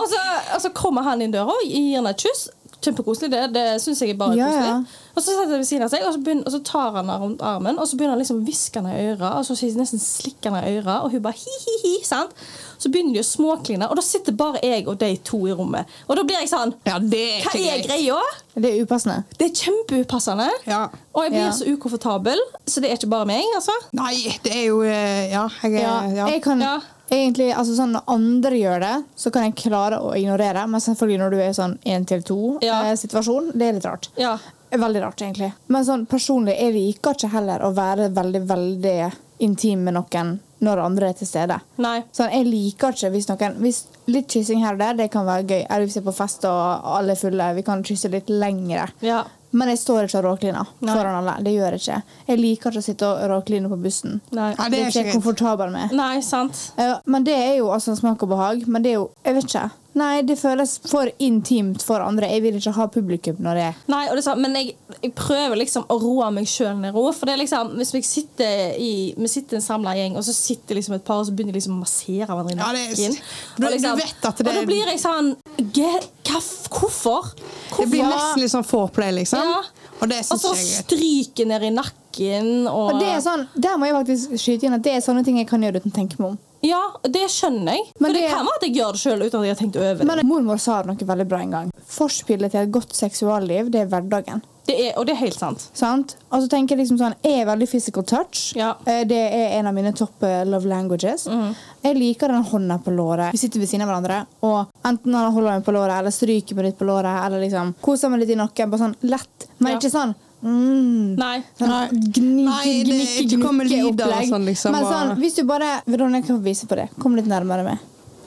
S3: og så, og så kommer han inn døra og gir henne et kyss. Kjempekoselig, det. Det syns jeg er bare
S2: Ja, ja.
S3: koselig. Og så setter jeg ved siden av seg, og så, begynner, og så tar han henne rundt armen og så begynner han liksom å hviske henne i øret. Og så sier- nesten slikker henne i øret, og hun bare hi-hi-hi. sant? Så begynner de å småkline, og da sitter bare jeg og de to i rommet. Og da blir jeg sånn
S1: Ja, det er
S3: Hva
S1: ikke
S3: er
S1: greit.
S3: greia?
S2: Det er upassende.
S3: Det er kjempeupassende.
S1: Ja.
S3: Og jeg blir
S2: Ja.
S3: så ukomfortabel, så det er ikke bare meg, altså.
S1: Nei, det er jo eh, Ja, jeg
S2: Ja,
S1: er ja.
S2: jeg kan
S3: Ja.
S2: egentlig, altså sånn Når andre gjør det, så kan jeg klare å ignorere. Men selvfølgelig når du er i sånn én til
S3: Ja.
S2: to-situasjon, det er litt rart.
S3: Ja.
S2: Veldig rart, egentlig. Men sånn personlig, jeg liker ikke heller å være veldig, veldig intim med noen når andre er til stede.
S3: Nei.
S2: Sånn, jeg liker ikke hvis noen hvis Litt kyssing her og der, det kan være gøy. Eller hvis jeg er på fest og alle er fulle, vi kan kysse litt lengre.
S3: Ja.
S2: Men jeg står ikke og råkliner
S3: Nei.
S2: foran alle. Det gjør jeg ikke. Jeg liker ikke å sitte og råkline på bussen.
S3: Nei.
S1: Ja,
S2: Det
S1: det
S2: er
S1: er
S2: ikke
S1: ikke
S2: jeg
S1: greit.
S2: komfortabel med.
S3: Nei, sant.
S2: Ja, men det er jo altså smak og behag. Men det er jo Jeg vet ikke. Nei, det føles for intimt for andre. Jeg vil ikke ha publikum når det er
S3: Nei, og det er sant, men jeg, jeg prøver liksom å roe meg sjøl ned. ro, For det er liksom, hvis vi sitter i vi sitter en samla gjeng, og så sitter liksom et par og så begynner de liksom å massere hverandre i
S1: Ja, det er-
S3: nakken
S1: du-
S3: og liksom,
S1: du vet at det-
S3: Og da blir jeg sånn «Ge- hva, f- Hvorfor?
S1: Det blir
S3: Hvorfor?
S1: nesten litt sånn foreplay, liksom.
S3: Ja.
S1: Og det
S3: Og
S1: syns
S3: så
S1: jeg er greit.
S3: stryker ned i nakken og,
S2: Og det er sånn, Der må jeg faktisk skyte inn at det er sånne ting jeg kan gjøre uten å tenke meg om.
S3: Ja, det skjønner jeg.
S2: Men
S3: for det,
S2: det-
S3: kan være at jeg gjør det sjøl uten at jeg har tenkt over det.
S2: Men mormor sa noe veldig bra en gang. Forspillet til et godt seksualliv, det er hverdagen.
S3: det er, og det er helt sant.
S2: Sant? Og så tenker jeg liksom sånn, Jeg er veldig physical touch.
S3: Ja.
S2: Eh, Det er en av mine topp eh, love languages.
S1: Mhm.
S2: Jeg liker den hånda på låret. Vi sitter ved siden av hverandre, og enten han holder meg på låret, eller stryker meg litt på låret, eller liksom koser meg litt i nakken. Bare sånn lett. Men
S3: Ja.
S2: ikke sånn mm,
S3: Nei.
S2: Sånn,
S1: Nei.
S2: gnikke,
S1: Nei, det-
S2: gnikke,
S1: ikke komme
S2: gnikke
S1: lyder og
S2: opplegg.
S1: sånn, liksom,
S2: Men sånn,
S1: og-
S2: hvis du bare Veronica, jeg kan vise på det. Kom litt nærmere meg.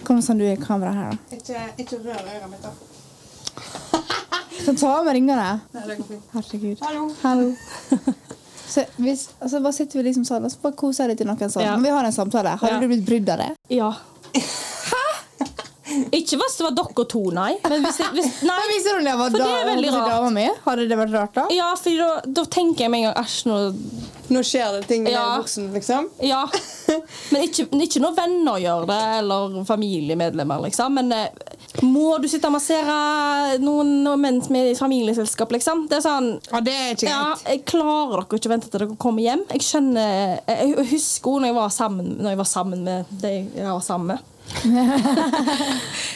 S2: Kom sånn du er i kameraet her, da.
S1: Ikke, rør øret mitt, da.
S2: Skal ta av meg ringene.
S1: Nei, det går fint.
S2: Herregud.
S1: Hallo.
S2: Hallo. [laughs] Så hvis, altså bare sitter vi liksom sånn og så bare koser jeg deg til noen sånn.
S3: Ja.
S2: Men vi har en samtale. Hadde
S3: Ja.
S2: du blitt brydd av det?
S3: Ja. Hæ?! Ikke hvis det var dere to, nei. Men hvis, det-
S2: [laughs]
S3: hvis, nei.
S2: Men hvis hun var
S3: For
S2: da,
S3: det er veldig
S2: holdt på å si
S3: rart.
S2: dama mi, hadde det vært rart da?
S3: Ja, for da, da tenker jeg med en gang æsj, nå
S1: Nå skjer det ting med
S3: Ja.
S1: hele buksen, liksom.
S3: Ja. Men ikke, men ikke når venner gjør det, eller familiemedlemmer, liksom. Men eh, må du sitte og massere noen mens vi er i familieselskap, liksom? Det er sånn
S1: Ja, det er ikke
S3: Ja,
S1: greit.
S3: jeg klarer dere ikke å vente til dere kommer hjem. Jeg skjønner, jeg jeg husker også når jeg var sammen, når jeg var sammen med de jeg var sammen med.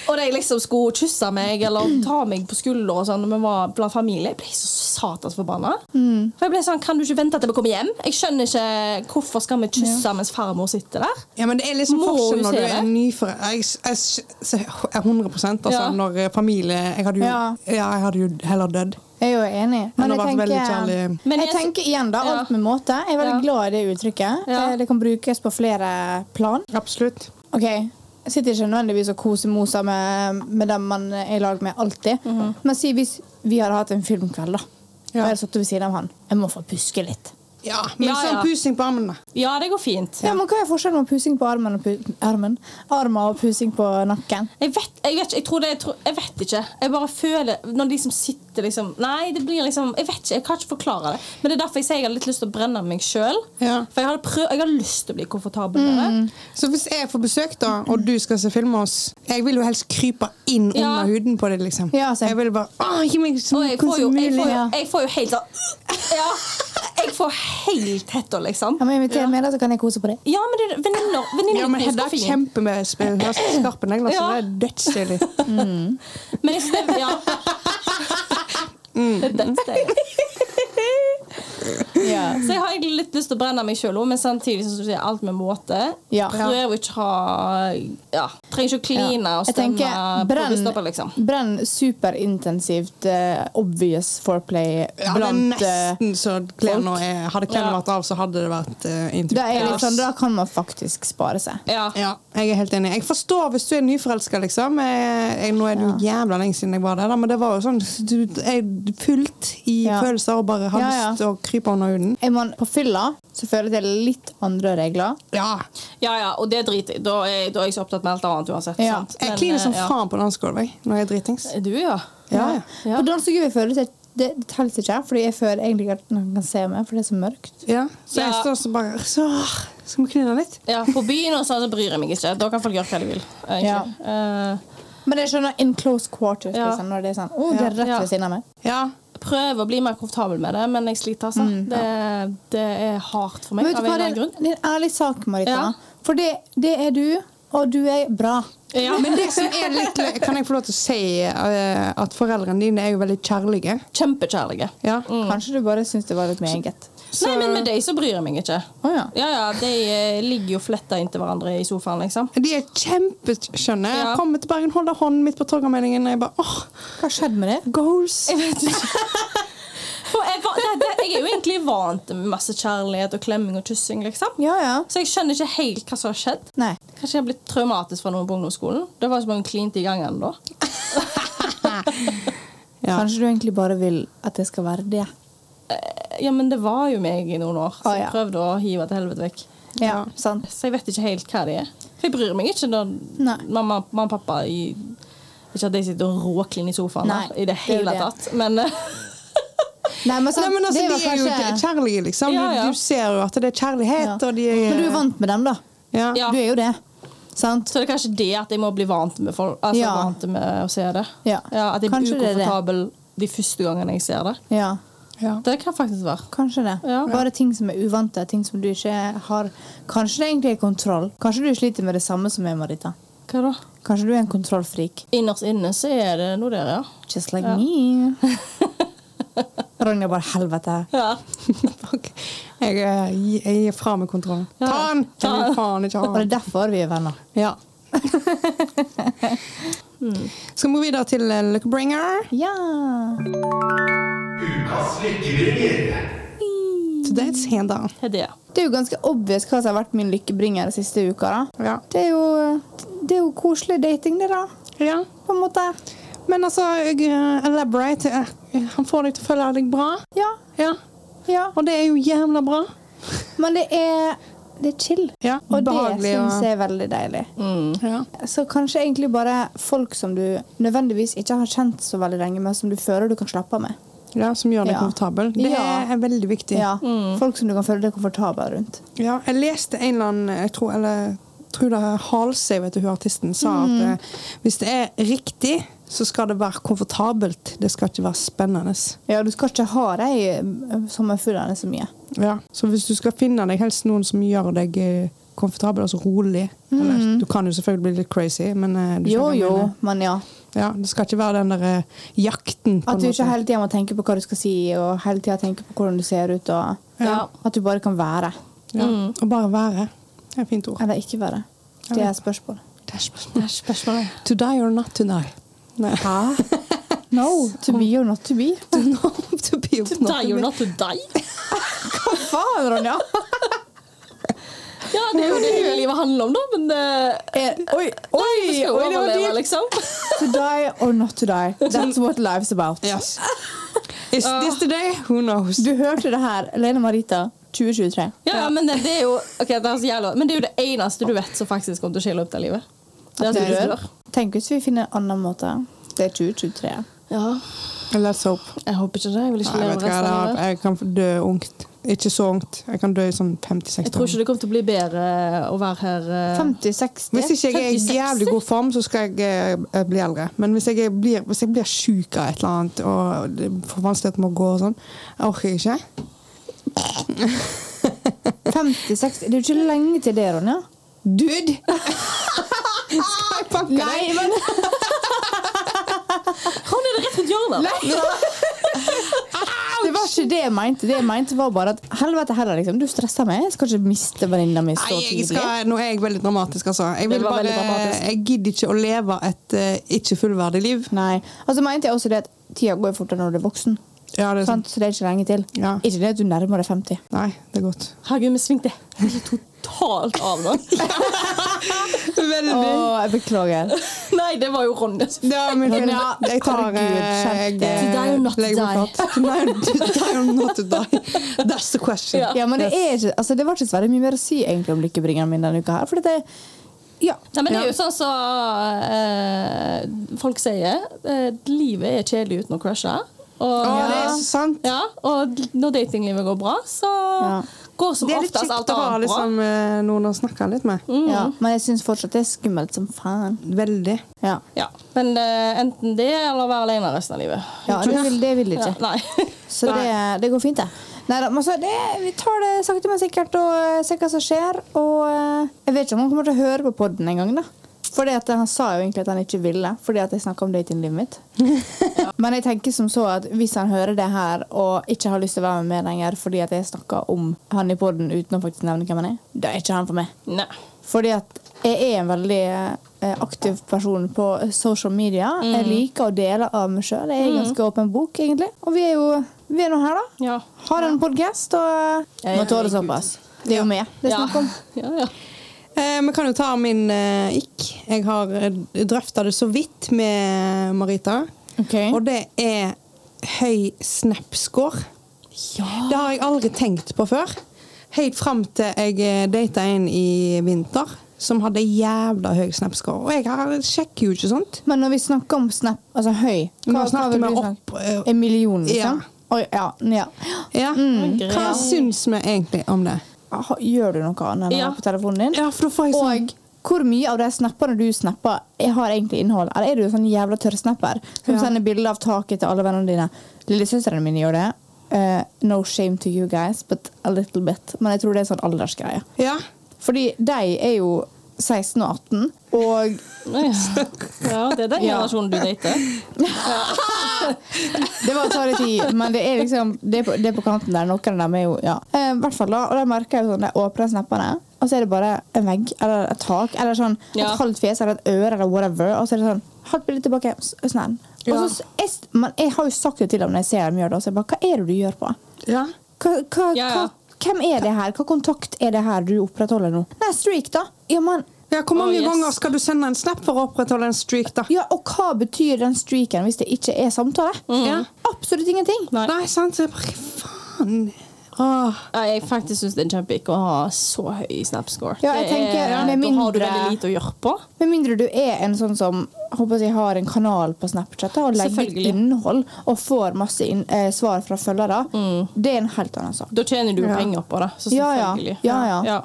S3: og de liksom skulle kysse meg eller ta meg på skuldra og sånn når vi var blant familie. Jeg ble så satans forbanna. For jeg ble sånn, kan du ikke vente til vi kommer hjem? Jeg skjønner ikke hvorfor skal vi kysse mens farmor sitter der.
S1: Ja, men det er liksom
S3: Må
S1: forskjell
S3: hun
S1: når du
S3: se
S1: er
S3: det?
S1: nyforelder. Jeg, jeg, jeg, jeg er 100 altså,
S3: Ja.
S1: når eh, familie Jeg hadde jo, ja.
S2: Ja.
S1: jeg hadde jo heller dødd
S2: Jeg er jo enig.
S1: enn
S2: Men
S1: å
S2: jeg
S1: være veldig kjærlig.
S2: tenker,
S3: Men
S2: jeg
S3: jeg-
S2: tenker igjen, da. Alt
S3: Ja.
S2: med måte. Jeg er veldig
S3: Ja.
S2: glad i det uttrykket.
S3: Ja.
S2: Eh, Det kan brukes på flere plan.
S1: Absolutt.
S2: Ok, jeg sitter ikke nødvendigvis og koser moser med, med dem man er i lag med alltid.
S3: Mhm.
S2: Men si hvis vi hadde hatt en filmkveld, da.
S1: Ja.
S2: Og jeg hadde sittet ved siden av han. Jeg må få puske litt.
S1: Ja, men
S3: Ja,
S1: sånn
S3: ja.
S1: pusing på armene.
S3: Ja, det går fint.
S2: Ja, men Hva er forskjellen på pusing på armen og, pu armen? Armer og pusing på nakken?
S3: Jeg vet, jeg vet ikke. Jeg, tror det, jeg, tror, jeg vet ikke. Jeg bare føler Når de som sitter liksom Nei, det blir liksom Jeg vet ikke. Jeg kan ikke forklare det. Men det er derfor jeg sier jeg har litt lyst til å brenne meg sjøl.
S1: Ja. Mm.
S3: For jeg har, prøv, jeg har lyst til å bli komfortabel med det.
S1: Så hvis jeg får besøk, da, og du skal se film med oss Jeg vil jo helst krype inn
S3: Ja.
S1: under huden på deg, liksom.
S2: Ja, sant.
S1: jeg vil bare Åh, gi meg så
S3: Og
S1: mye
S3: jeg får jo,
S1: som
S3: jeg
S1: mulig.
S3: får jo,
S2: ja.
S3: jeg får jo helt sånn [laughs] Ja. Jeg får helt hetta, liksom.
S2: Ja, men Inviter meg, da, så kan jeg kose på det.
S3: Ja, men det er venninner.
S1: Ja, men
S3: Venninnekos
S1: Hedda
S3: går
S1: er
S3: fint.
S1: kjempe med sp- [laughs] skarpe negler, så
S3: Ja.
S1: det er dødsstilig.
S3: Men jeg synes det Ja.
S1: [laughs]
S3: [laughs]
S1: Mm.
S3: Det er den stegen.
S2: Ja.
S3: Så jeg har egentlig litt lyst til å brenne meg sjøl òg, men samtidig som du sier alt med måte.
S2: Ja.
S3: Prøver ikke å ha ja, Trenger ikke å kline og
S2: Jeg
S3: stemme
S2: tenker,
S3: på
S2: brenn-
S3: busstopper, liksom.
S2: Brenn superintensivt, eh, obvious foreplay
S1: [laughs] Ja, det er
S2: blant eh,
S1: nesten så klærne
S2: folk.
S1: er Hadde klærne
S3: Ja.
S1: vært av, så hadde det vært uh,
S2: da, er jeg litt sånn, da kan man faktisk spare seg.
S3: Ja.
S1: Ja, jeg er helt enig. Jeg forstår hvis du er nyforelska, liksom. Jeg, jeg, nå er det jo jævla lenge siden jeg var der, da, men det var jo sånn du, Jeg er fullt i
S2: Ja.
S1: følelser og bare har
S2: Ja, ja.
S1: lyst til å krype under huden.
S2: Er man på fylla, så føler jeg det er litt andre regler.
S1: Ja.
S3: ja ja, og det driter jeg Da er da er jeg så opptatt med alt annet uansett.
S2: Ja.
S3: Sant?
S1: Jeg
S3: Men,
S1: kliner som
S3: eh, ja.
S1: faen på dansegulvet jeg, når jeg er dritings.
S3: Du, ja.
S1: Ja, ja.
S3: Ja.
S2: På dansegulvet føles det det, det telles ikke, fordi jeg føler egentlig ikke at noen kan se meg, for det er så mørkt.
S1: Ja. Så jeg
S3: Ja.
S1: står sånn bare så, Skal vi kline litt?
S3: ja. På byen og sånn, så bryr jeg meg ikke. Da kan folk gjøre hva de vil. egentlig.
S2: Ja.
S3: Eh,
S2: Men jeg skjønner in close quarters,
S3: Ja.
S2: liksom, når det er sånn, å, det er rett
S3: Ja.
S2: ved siden av meg.
S1: Ja.
S3: prøver å bli mer komfortabel med det, men jeg sliter, altså. det, det er hardt for
S2: Mm, Men
S3: meg.
S2: vet
S3: av
S2: du
S3: en
S2: hva, det
S3: eller
S2: er
S3: annen
S2: en,
S3: grunn.
S2: det er en ærlig sak, Marita.
S3: Ja.
S2: For det, det er du, og du er bra.
S3: Ja.
S1: Men det som er litt lø- Kan jeg få lov til å si eh, at foreldrene dine er jo veldig kjærlige?
S3: Kjempekjærlige.
S1: Ja.
S2: Kanskje du bare syns det var litt meget.
S3: Nei, men med deg så bryr jeg meg ikke.
S2: Å ja.
S3: Ja, ja, De eh, ligger jo fletta inntil hverandre i sofaen, liksom.
S1: De er kjempeskjønne.
S3: Ja.
S1: Jeg kommer til Bergen, holder hånden midt på Torgallmenningen, og jeg bare åh,
S2: Hva skjedde med det?
S1: goals!
S3: Jeg vet ikke. For jeg, var- det, det, jeg er jo egentlig vant med masse kjærlighet og klemming og kyssing, liksom.
S2: Ja, ja.
S3: Så jeg skjønner ikke helt hva som har skjedd.
S2: Nei.
S3: Kanskje jeg har blitt traumatisk fra noen på ungdomsskolen. Det var jo så mange klinte i gangen da.
S1: Ja.
S2: Kanskje du egentlig bare vil at det skal være det.
S3: Ja, men det var jo meg i noen år,
S2: Å,
S3: så
S2: ja.
S3: jeg prøvde å hive til helvete vekk.
S2: Ja, sant.
S3: Så jeg vet ikke helt hva det er. For jeg bryr meg ikke når
S2: Nei.
S3: mamma, mamma og pappa i, Ikke at de sitter og råkliner i sofaen
S2: Nei,
S3: der, i
S2: det
S3: det
S2: er jo
S3: hele
S2: det.
S3: tatt, men eh,
S2: Nei, men, sant,
S1: Nei, men
S2: det
S1: altså, De
S2: var
S1: er jo
S2: kanskje...
S1: kjærlige, liksom.
S3: Ja, ja.
S1: Du, du ser jo at det er
S2: Ja.
S1: kjærlighet. Og de er,
S2: Men du er vant med dem, da.
S1: Ja.
S3: Ja.
S2: Du er jo det. Sant?
S3: Så det er kanskje det at jeg må bli vant med, folk, altså,
S2: Ja.
S3: vant med å se det.
S2: Ja.
S3: at jeg
S2: Kanskje det
S3: blir
S2: er det.
S3: ukomfortabel de første gangene jeg ser det.
S2: Ja.
S1: Ja. [laughs]
S3: Det kan faktisk være.
S2: Kanskje det.
S3: Ja.
S2: Bare ting som er uvante. Ting som du ikke har Kanskje det egentlig er kontroll. Kanskje du sliter med det samme som jeg, Marita.
S3: Hva da?
S2: Kanskje du er en kontrollfrik.
S3: Innerst inne så er det noe der, ja.
S2: Just like me. [laughs] Ronja bare Helvete.
S3: ja.
S1: Fuck. Jeg, eh, gi- jeg gir fra meg kontrollen.
S3: Ja.
S1: Ta den!
S3: Ta
S1: Jeg vil
S3: den.
S1: faen ikke
S2: Og
S1: ha
S2: det
S1: den.
S2: er derfor vi er venner.
S1: Ja. Skal vi videre til eh, Lookbringer?
S2: Ja.
S4: Ukas lykkeringer.
S1: Today's Hedda.
S3: Det er det.
S2: Det er jo ganske obvious hva som har vært min lykkebringer de siste uka. da.
S1: Ja.
S2: Det er jo, det er jo koselig dating, det, da.
S1: ja.
S2: På en måte.
S1: Men altså, jeg, eh, elaborate eh, Han får deg til å føle deg bra.
S2: Ja,
S1: Ja.
S2: ja.
S1: Og det er jo jævla bra.
S2: Men det er, det er chill.
S1: Ja.
S2: Og det
S1: Behagelig og-
S2: syns jeg er veldig deilig.
S3: Mm.
S1: Ja.
S2: Så kanskje egentlig bare folk som du nødvendigvis ikke har kjent så veldig lenge, men som du føler du kan slappe av med.
S1: ja, som gjør deg
S2: Ja.
S1: komfortabel. Det
S2: Ja.
S1: er veldig viktig.
S2: Ja, Mm. Folk som du kan føle deg komfortabel rundt.
S1: Ja, jeg leste en eller annen Jeg tror, eller, jeg tror det er Halsey, vet du, hun artisten, sa at eh, hvis det er riktig, så skal det være komfortabelt. Det skal ikke være spennende.
S2: Ja, Du skal ikke ha eh, de sommerfuglene så mye.
S1: Ja. Så hvis du skal finne deg helst noen som gjør deg eh, komfortabel, altså rolig eller,
S3: Mm.
S1: Du kan jo selvfølgelig bli litt crazy, men eh, du skjønner
S2: Jo,
S1: hva jeg
S2: jo,
S1: mener.
S2: men ja.
S1: Ja, det skal ikke være den der eh, jakten. på
S2: At
S1: en
S2: du
S1: måte.
S2: ikke hele tida må tenke på hva du skal si, og hele tida tenke på hvordan du ser ut, og
S3: Ja.
S2: at du bare kan være.
S1: ja.
S3: Mm.
S1: Og bare være. Det er et fint ord.
S2: Eller ikke være. Det er spørsmålet.
S1: Det er spørsmål.
S3: Det er spørsmålet.
S1: To die or not to die. Nei.
S2: Hæ? No. To be or not to be.
S1: [laughs] to be or
S3: To
S1: not
S3: die
S1: to
S3: or
S1: be.
S3: not to die?
S2: Hva faen, Ronja?
S3: Ja, det er jo det hele livet handler om, da, men eh,
S2: Eh, Oi, oi,
S3: vi skal jo
S2: oi, det var
S3: overleve,
S2: dypt.
S3: liksom. [laughs]
S2: To die or not to die. That's what life's about.
S1: Yes. Is
S3: Ah.
S1: this the day? Who knows?
S2: Du hørte det her, Lene Marita, 2023.
S3: Ja, ja, men det, det er jo Ok, det er så jævla Men det er jo det eneste du vet som faktisk kommer til å skille opp det livet. Det er at du dør.
S2: Tenk hvis vi finner en annen måte. Det er 2023.
S3: Ja.
S1: Let's hope.
S3: Jeg håper ikke det. Jeg vil ikke
S1: Nei,
S3: leve
S1: vet du hva,
S3: resten av
S1: det er-
S3: livet.
S1: jeg kan dø ungt. Ikke så ungt. Jeg kan dø i sånn 50-60
S3: Jeg tror ikke det kommer til å bli bedre å være her eh,
S2: 50-60.
S1: Hvis ikke jeg er i
S3: 50-60?
S1: jævlig god form, så skal jeg eh, bli eldre. Men hvis jeg blir, hvis jeg blir syk av et eller annet og det får vanskeligheter med å gå og sånn, jeg orker ikke.
S2: 50-60. Det er jo ikke lenge til det, Ronja.
S1: Dude! [laughs] skal jeg banke deg?
S2: [laughs] men
S3: Han er det rett rundt hjørnet!
S2: [laughs] Det var ikke det jeg mente. Det jeg mente var bare at helvete heller, liksom. Du stresser meg. Jeg skal ikke miste venninna mi så
S1: Nei, jeg
S2: tidlig.
S1: skal, nå er jeg veldig dramatisk, altså. Jeg, vil
S3: Det var
S1: bare,
S3: veldig dramatisk.
S1: jeg gidder ikke å leve et eh, ikke fullverdig liv.
S2: Nei. Altså mente jeg også det at tida går fortere når du er voksen.
S1: Ja, det er
S2: Sant?
S1: sant.
S2: Så det er ikke lenge til.
S1: Ja.
S2: Ikke det at du nærmer deg 50.
S1: Nei, det er godt.
S3: Herregud, vi svingte helt totalt av nå.
S2: Å,
S1: Veldig.
S2: jeg beklager.
S3: Nei, det var jo Ronja.
S1: Det var min feil.
S2: Ja,
S1: Jeg tar
S2: herregud,
S1: eh,
S2: skjerp
S1: jeg, eh,
S3: deg. To die or not to
S1: legger meg
S3: die.
S1: flat. To die- to die or not to die. That's the question.
S3: Ja.
S2: Ja, men det,
S1: Yes.
S2: er ikke, altså, det var ikke så veldig mye mer å si egentlig om lykkebringeren min denne uka her. For det, ja,
S3: Nei, men det er jo sånn som eh, folk sier. eh, livet er kjedelig uten å crushe. Og,
S1: Å, det
S3: ja.
S1: er så sant.
S3: Ja, og når datinglivet går bra, så
S2: Ja.
S3: går som
S1: Det er litt
S3: oftest
S1: kjekt
S3: altså alt
S1: å ha
S3: annet bra.
S1: liksom, eh, noen å snakke litt med.
S2: ja, men jeg syns fortsatt det er skummelt som faen.
S1: Veldig.
S2: Ja,
S3: Ja, men eh, enten det eller være alene resten av livet.
S2: ja det, vil, det vil jeg
S3: Ja,
S2: ikke.
S3: nei. [laughs]
S2: Så det, det går fint, det. Neida, men altså, det, vi tar det sakte, men sikkert og eh, ser hva som skjer. Og eh, jeg vet ikke om han kommer til å høre på podden en gang, da. Fordi at Han sa jo egentlig at han ikke ville, fordi at jeg snakka om datinglivet [laughs] mitt. Men jeg tenker som så at hvis han hører det her og ikke har lyst til å være med meg lenger fordi at jeg snakka om han i podden uten å faktisk nevne hvem han er, da er ikke han for meg.
S3: nei.
S2: Fordi at jeg er en veldig eh, aktiv person på social media.
S3: Mm.
S2: Jeg liker å dele av meg sjøl. Jeg er ganske åpen bok, egentlig. Og vi er jo vi er nå her, da.
S3: Ja.
S2: Har en podkast og
S3: Ja,
S2: Må tåle
S3: herregud.
S2: såpass. Det er jo meg det er
S3: Ja.
S2: snakk om.
S3: Ja, ja.
S1: Eh, Vi kan jo ta min eh, ikk. Jeg har drøfta det så vidt med Marita.
S2: Ok.
S1: Og det er høy snap-score. Det har jeg aldri tenkt på før. Helt fram til jeg eh, data en i vinter som hadde jævla høy snap-score. Og jeg har, sjekker jo ikke sånt.
S2: Men når vi snakker om snap, altså høy
S1: Nå snakker
S2: vil
S1: vi
S2: du
S1: opp,
S2: snakke?
S1: eh,
S2: En million,
S1: ja.
S2: liksom? Oi, ja. ja.
S1: Ja.
S3: greit.
S1: Hva syns vi egentlig om det?
S2: Ha- Gjør du noe annet enn å
S3: Ja.
S2: være på telefonen din?
S1: Ja, for da får jeg sånn
S2: Og hvor mye av de snappene du snapper, jeg har egentlig innhold? Eller er du en sånn jævla tørrsnapper som
S1: Ja.
S2: sender bilder av taket til alle vennene dine? Lillesøstrene mine gjør det. Eh, no shame to you guys, but a little bit. Men jeg tror det er en sånn aldersgreie.
S1: Ja.
S2: Fordi de er jo 16 og 18, og
S3: Nei. ja, det er den
S2: Ja.
S3: generasjonen du dater.
S2: Det var å ta litt tid, men det er liksom Det er på, det er på kanten der. Noen av dem er jo ja. Eh, hvert fall da, og da merker jeg jo sånn, de åpner snappene, og så er det bare en vegg eller et tak eller sånn
S3: Ja.
S2: et halvt fjes eller et øre eller whatever, og så er det sånn Halvt bilde tilbake, s- snern. Og
S1: Ja.
S2: så, s- jeg, s- men jeg har jo sagt det til dem når jeg ser dem gjøre det, og så jeg bare Hva er det du gjør på?
S1: ja.
S2: Hva, hva,
S3: Ja, ja.
S2: Hva, hvem er det her? Hva kontakt er det her du opprettholder nå? Nei, streak, da. Ja, men
S1: Ja, Hvor mange
S3: Å, yes.
S1: ganger skal du sende en snap for å opprettholde en streak, da?
S2: Ja, og hva betyr den streaken hvis det ikke er samtale?
S1: Ja.
S2: Absolutt ingenting.
S3: Mm. Nei.
S1: Nei, sant? Så jeg bare, Faen. Ah, Åh.
S3: Ja, jeg faktisk syns det er kjempeikk å ha så høy snap-score.
S2: Ja, jeg
S3: Det er-
S2: tenker, med
S3: Da har du
S2: mindre-
S3: veldig lite å gjøre på.
S2: Med mindre du er en sånn som jeg håper jeg har en kanal på Snapchat da, og legger ut
S3: Selvfølgelig.
S2: innhold og får masse inn, eh, svar fra følgere,
S1: Mm.
S2: det er en helt annen sak.
S3: Da tjener du jo
S1: Ja.
S3: penger på det. Så
S2: Ja, ja.
S3: selvfølgelig.
S2: Ja, ja.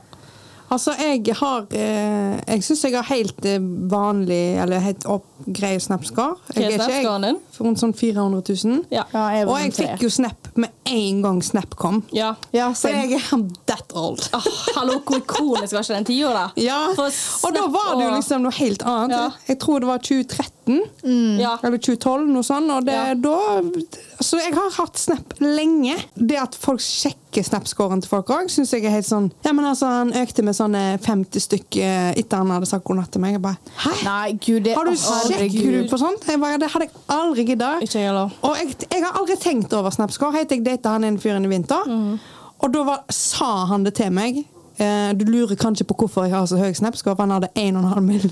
S1: Altså, jeg har eh, Jeg syns jeg har helt eh, vanlig, eller helt opp, grei snapscore.
S3: Hva er
S1: Jeg
S3: snapscoren din?
S1: rundt sånn 400 000.
S3: Ja.
S2: Ja, jeg er
S1: Og
S2: rundt
S1: jeg
S2: tre.
S1: fikk jo snap med en gang snap kom.
S3: Ja.
S2: ja, altså,
S1: Så
S2: same.
S1: jeg er that old.
S3: Ah, hallo, hvor ikonisk var ikke den tiåra?
S1: Ja,
S3: For
S1: og da var det jo
S3: og-
S1: liksom noe helt annet.
S3: Ja.
S1: Jeg tror det var 2013
S2: Mm.
S3: Ja.
S1: eller 2012, noe sånt. Og det,
S3: Ja.
S1: da, så jeg har hatt Snap lenge. Det at folk sjekker Snap-scoren til folk òg, syns jeg er helt sånn Ja, men altså, han økte med sånne 50 stykker etter han hadde sagt god natt til meg. Jeg bare Hæ?
S2: Nei, gud, det
S1: Har du
S2: å,
S1: sjekker du på sånt? Jeg bare, det hadde jeg aldri gidda.
S3: Ikke jeg heller.
S1: Og jeg, jeg har aldri tenkt over Snapscore. Helt til jeg data han ene fyren i vinter.
S3: Mhm.
S1: Og da var, sa han det til meg. Eh, du lurer kanskje på hvorfor jeg har så høy Snapscore, for han hadde 1,5 mill.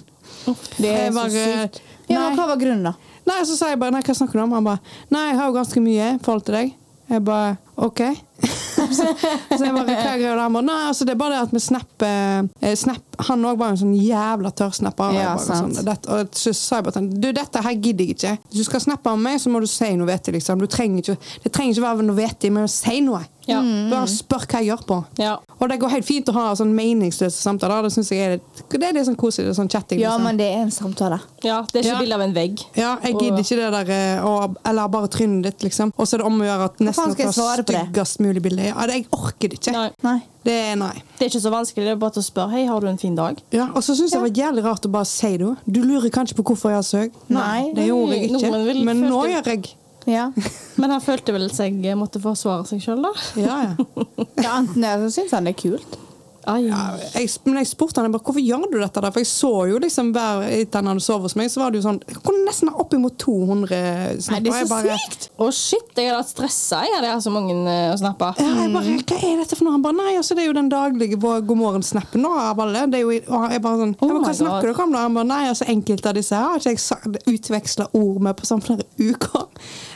S2: Det er
S1: Jeg
S2: så
S1: bare-
S2: sykt. Ja, men
S1: Nei.
S2: hva var grunnen, da?
S1: Nei, så sa jeg bare nei, hva snakker du om? Han bare nei, jeg har jo ganske mye i forhold til deg. Jeg bare OK. så, så jeg bare, hva er greia da? Han bare nei, altså det er bare det at vi snapper eh, snap, Han òg var jo en sånn jævla tørrsnapper. og jeg
S2: Ja,
S1: bare
S2: sant.
S1: sånn, dette- og så sa jeg bare til han du, dette her gidder jeg ikke. Hvis du skal snappe med meg, så må du si noe vettig, liksom. Du trenger ikke, det trenger ikke være noe vettig, men si noe. Mm.
S3: Ja.
S1: Bare spør hva jeg gjør på.
S3: Ja.
S1: Og det går helt fint å ha sånn meningsløse samtaler. Det synes jeg er litt, det er litt sånn koselig. Det er sånn
S2: [laughs]
S1: chatting.
S2: Ja,
S1: liksom.
S2: men det er en samtale.
S3: ja. Det er ikke
S1: Ja.
S3: bilde av en vegg.
S1: Ja, jeg gidder ikke det der eh, å- Eller bare trynet ditt, liksom. Og så er det om å gjøre at
S2: faen
S1: nesten
S2: skal jeg
S1: å ta
S2: svare på det?
S1: styggest mulig bilde. Ja, det, jeg orker det ikke.
S3: Nei.
S2: Nei.
S1: Det er nei.
S3: Det er ikke så vanskelig. Det er bare til å spørre Hei, har du en fin dag.
S1: Ja, og så syns jeg det var jævlig rart å bare si det. også. Du lurer kanskje på hvorfor jeg har søk.
S2: Nei.
S1: det gjorde jeg
S3: Nei,
S1: ikke.
S3: nordmenn vil
S1: Men
S3: føle
S1: nå
S3: det.
S1: gjør jeg. [laughs]
S2: Ja.
S3: Men han følte vel at jeg eh, måtte forsvare seg sjøl, da.
S1: Ja, ja.
S2: ja, enten det, så syns han det er kult.
S3: Ai.
S1: ja jeg, men jeg spurte han jeg bare, hvorfor gjør du dette, da? For jeg så jo liksom hver etter han hadde sovet hos meg, så var det jo sånn Jeg kunne nesten ha oppimot 200
S2: Nei, det
S1: snapper.
S2: er
S1: Jeg
S2: så
S1: bare-
S2: sykt!
S3: Å, shit, jeg hadde hatt stressa jeg hadde hatt så mange eh, å snappe.
S1: Ja, jeg
S3: Mm.
S1: bare, hva er dette for noe? Han bare, nei, altså, det er jo den daglige vår- god morgen-snappen nå, av alle. Det er jo, og jeg bare sånn,
S3: Oh
S1: jeg bare,
S3: my
S1: hva
S3: God.
S1: snakker dere om da? Han bare, nei, altså, enkelte av disse her har ikke jeg sa- utvekslet ord med på sånn flere uker.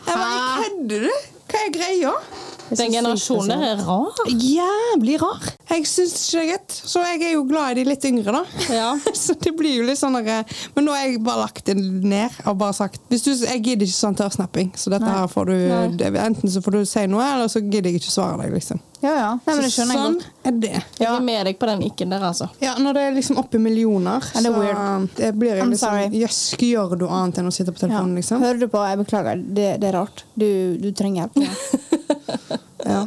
S1: Jeg bare,
S2: Hæ?
S1: kødder du? Hva er greia?
S2: Det er så
S3: Den
S2: sykt
S3: generasjonen
S2: spesielt.
S3: der er rar.
S1: Jævlig rar. Jeg synes ikke det er greit. Så jeg er jo glad i de litt yngre da.
S3: Ja.
S1: [laughs] Så det blir jo litt sånn, der, eh, men nå har jeg bare lagt det ned og bare sagt, hvis du, jeg gidder ikke sånn tørsnapping, så dette her får
S3: Nei.
S1: du, det, enten så får du si noe, eller så gidder jeg ikke svare deg, liksom.
S2: Ja, ja. Nei, men det
S1: Så
S2: skjønner jeg
S1: sånn
S2: godt.
S1: er det.
S3: Jeg er med deg på den ikken der, altså.
S1: Ja, når det er liksom oppe i millioner,
S2: Ja, det er
S1: så
S2: weird.
S1: det blir jeg
S2: I'm
S1: litt sånn
S2: sorry.
S1: Jøss, hva gjør du annet enn å sitte på
S2: Ja.
S1: telefonen, liksom?
S2: Hører du på? Jeg beklager, det, det er rart. Du, du trenger hjelp.
S1: [laughs] Ja.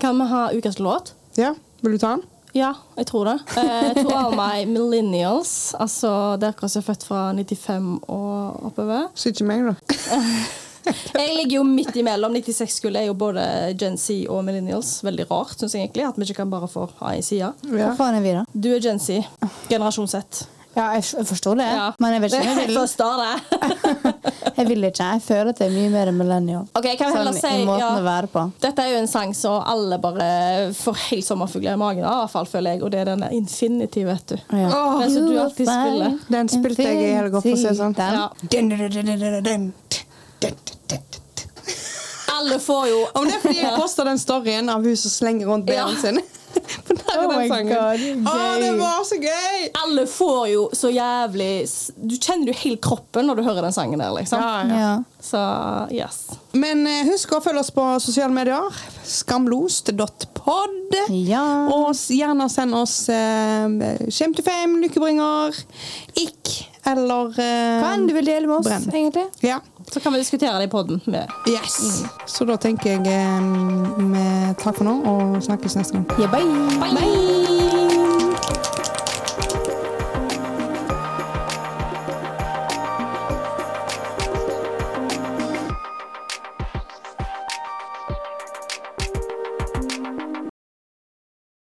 S3: Kan vi ha ukas låt?
S1: ja. Vil du ta den?
S3: Ja, jeg tror det. Eh, to av meg millennials, altså dere som er født fra 95 og oppover.
S1: Så ikke meg, da.
S3: Jeg ligger jo midt imellom. 96-kullet er jo både Gen Z og millennials. Veldig rart, syns jeg egentlig, at vi ikke kan bare få ha en side.
S1: Ja.
S2: Hva faen er vi, da?
S3: Du er Gen Z. Generasjon Z.
S2: Ja, jeg, jeg forstår det,
S3: Ja.
S2: men jeg vet ikke om jeg
S3: [laughs]
S1: [laughs]
S3: Jeg
S2: vil.
S3: forstår det.
S2: Jeg vil ikke. Jeg føler at det er mye mer millennial.
S3: Ok, kan vi heller
S2: Sånn, I
S3: si
S2: måten
S3: ja.
S2: å være på.
S3: Dette er jo en sang som alle bare får helt sommerfugler i magen av, i hvert fall føler jeg. Og det er denne Infinity, vet du.
S2: Ja.
S1: Åh,
S3: Den som du alltid spiller.
S1: Den spilte jeg i helga, for å si det sånn.
S2: Den?
S3: Ja.
S1: Dun, dun, dun, dun, dun, dun, dun, dun, dun, dun.
S3: Alle får jo
S1: Om det er fordi jeg posta den storyen av hun som slenger rundt
S3: Ja.
S1: bh-en sin. [laughs] For der er
S2: Oh my
S1: den sangen.
S2: God,
S1: Å, det
S2: gøy.
S1: var så gøy!
S3: alle får jo så jævlig s- Du kjenner jo helt kroppen når du hører den sangen der, liksom.
S2: Ja.
S3: Så yes.
S1: Men eh, husk å følge oss på sosiale medier. Skamlost.pod.
S2: Ja.
S1: Og s- gjerne send oss eh, Shame to fame, lykkebringer, ikk eller eh,
S2: Hva enn du vil dele med oss,
S1: Brenn.
S2: egentlig.
S1: Ja.
S3: Så kan vi diskutere det i poden.
S1: Yes.
S2: Mm.
S1: Så da tenker jeg eh, vi- takk for nå, og snakkes neste gang.
S2: Ja, bye.
S3: Bye!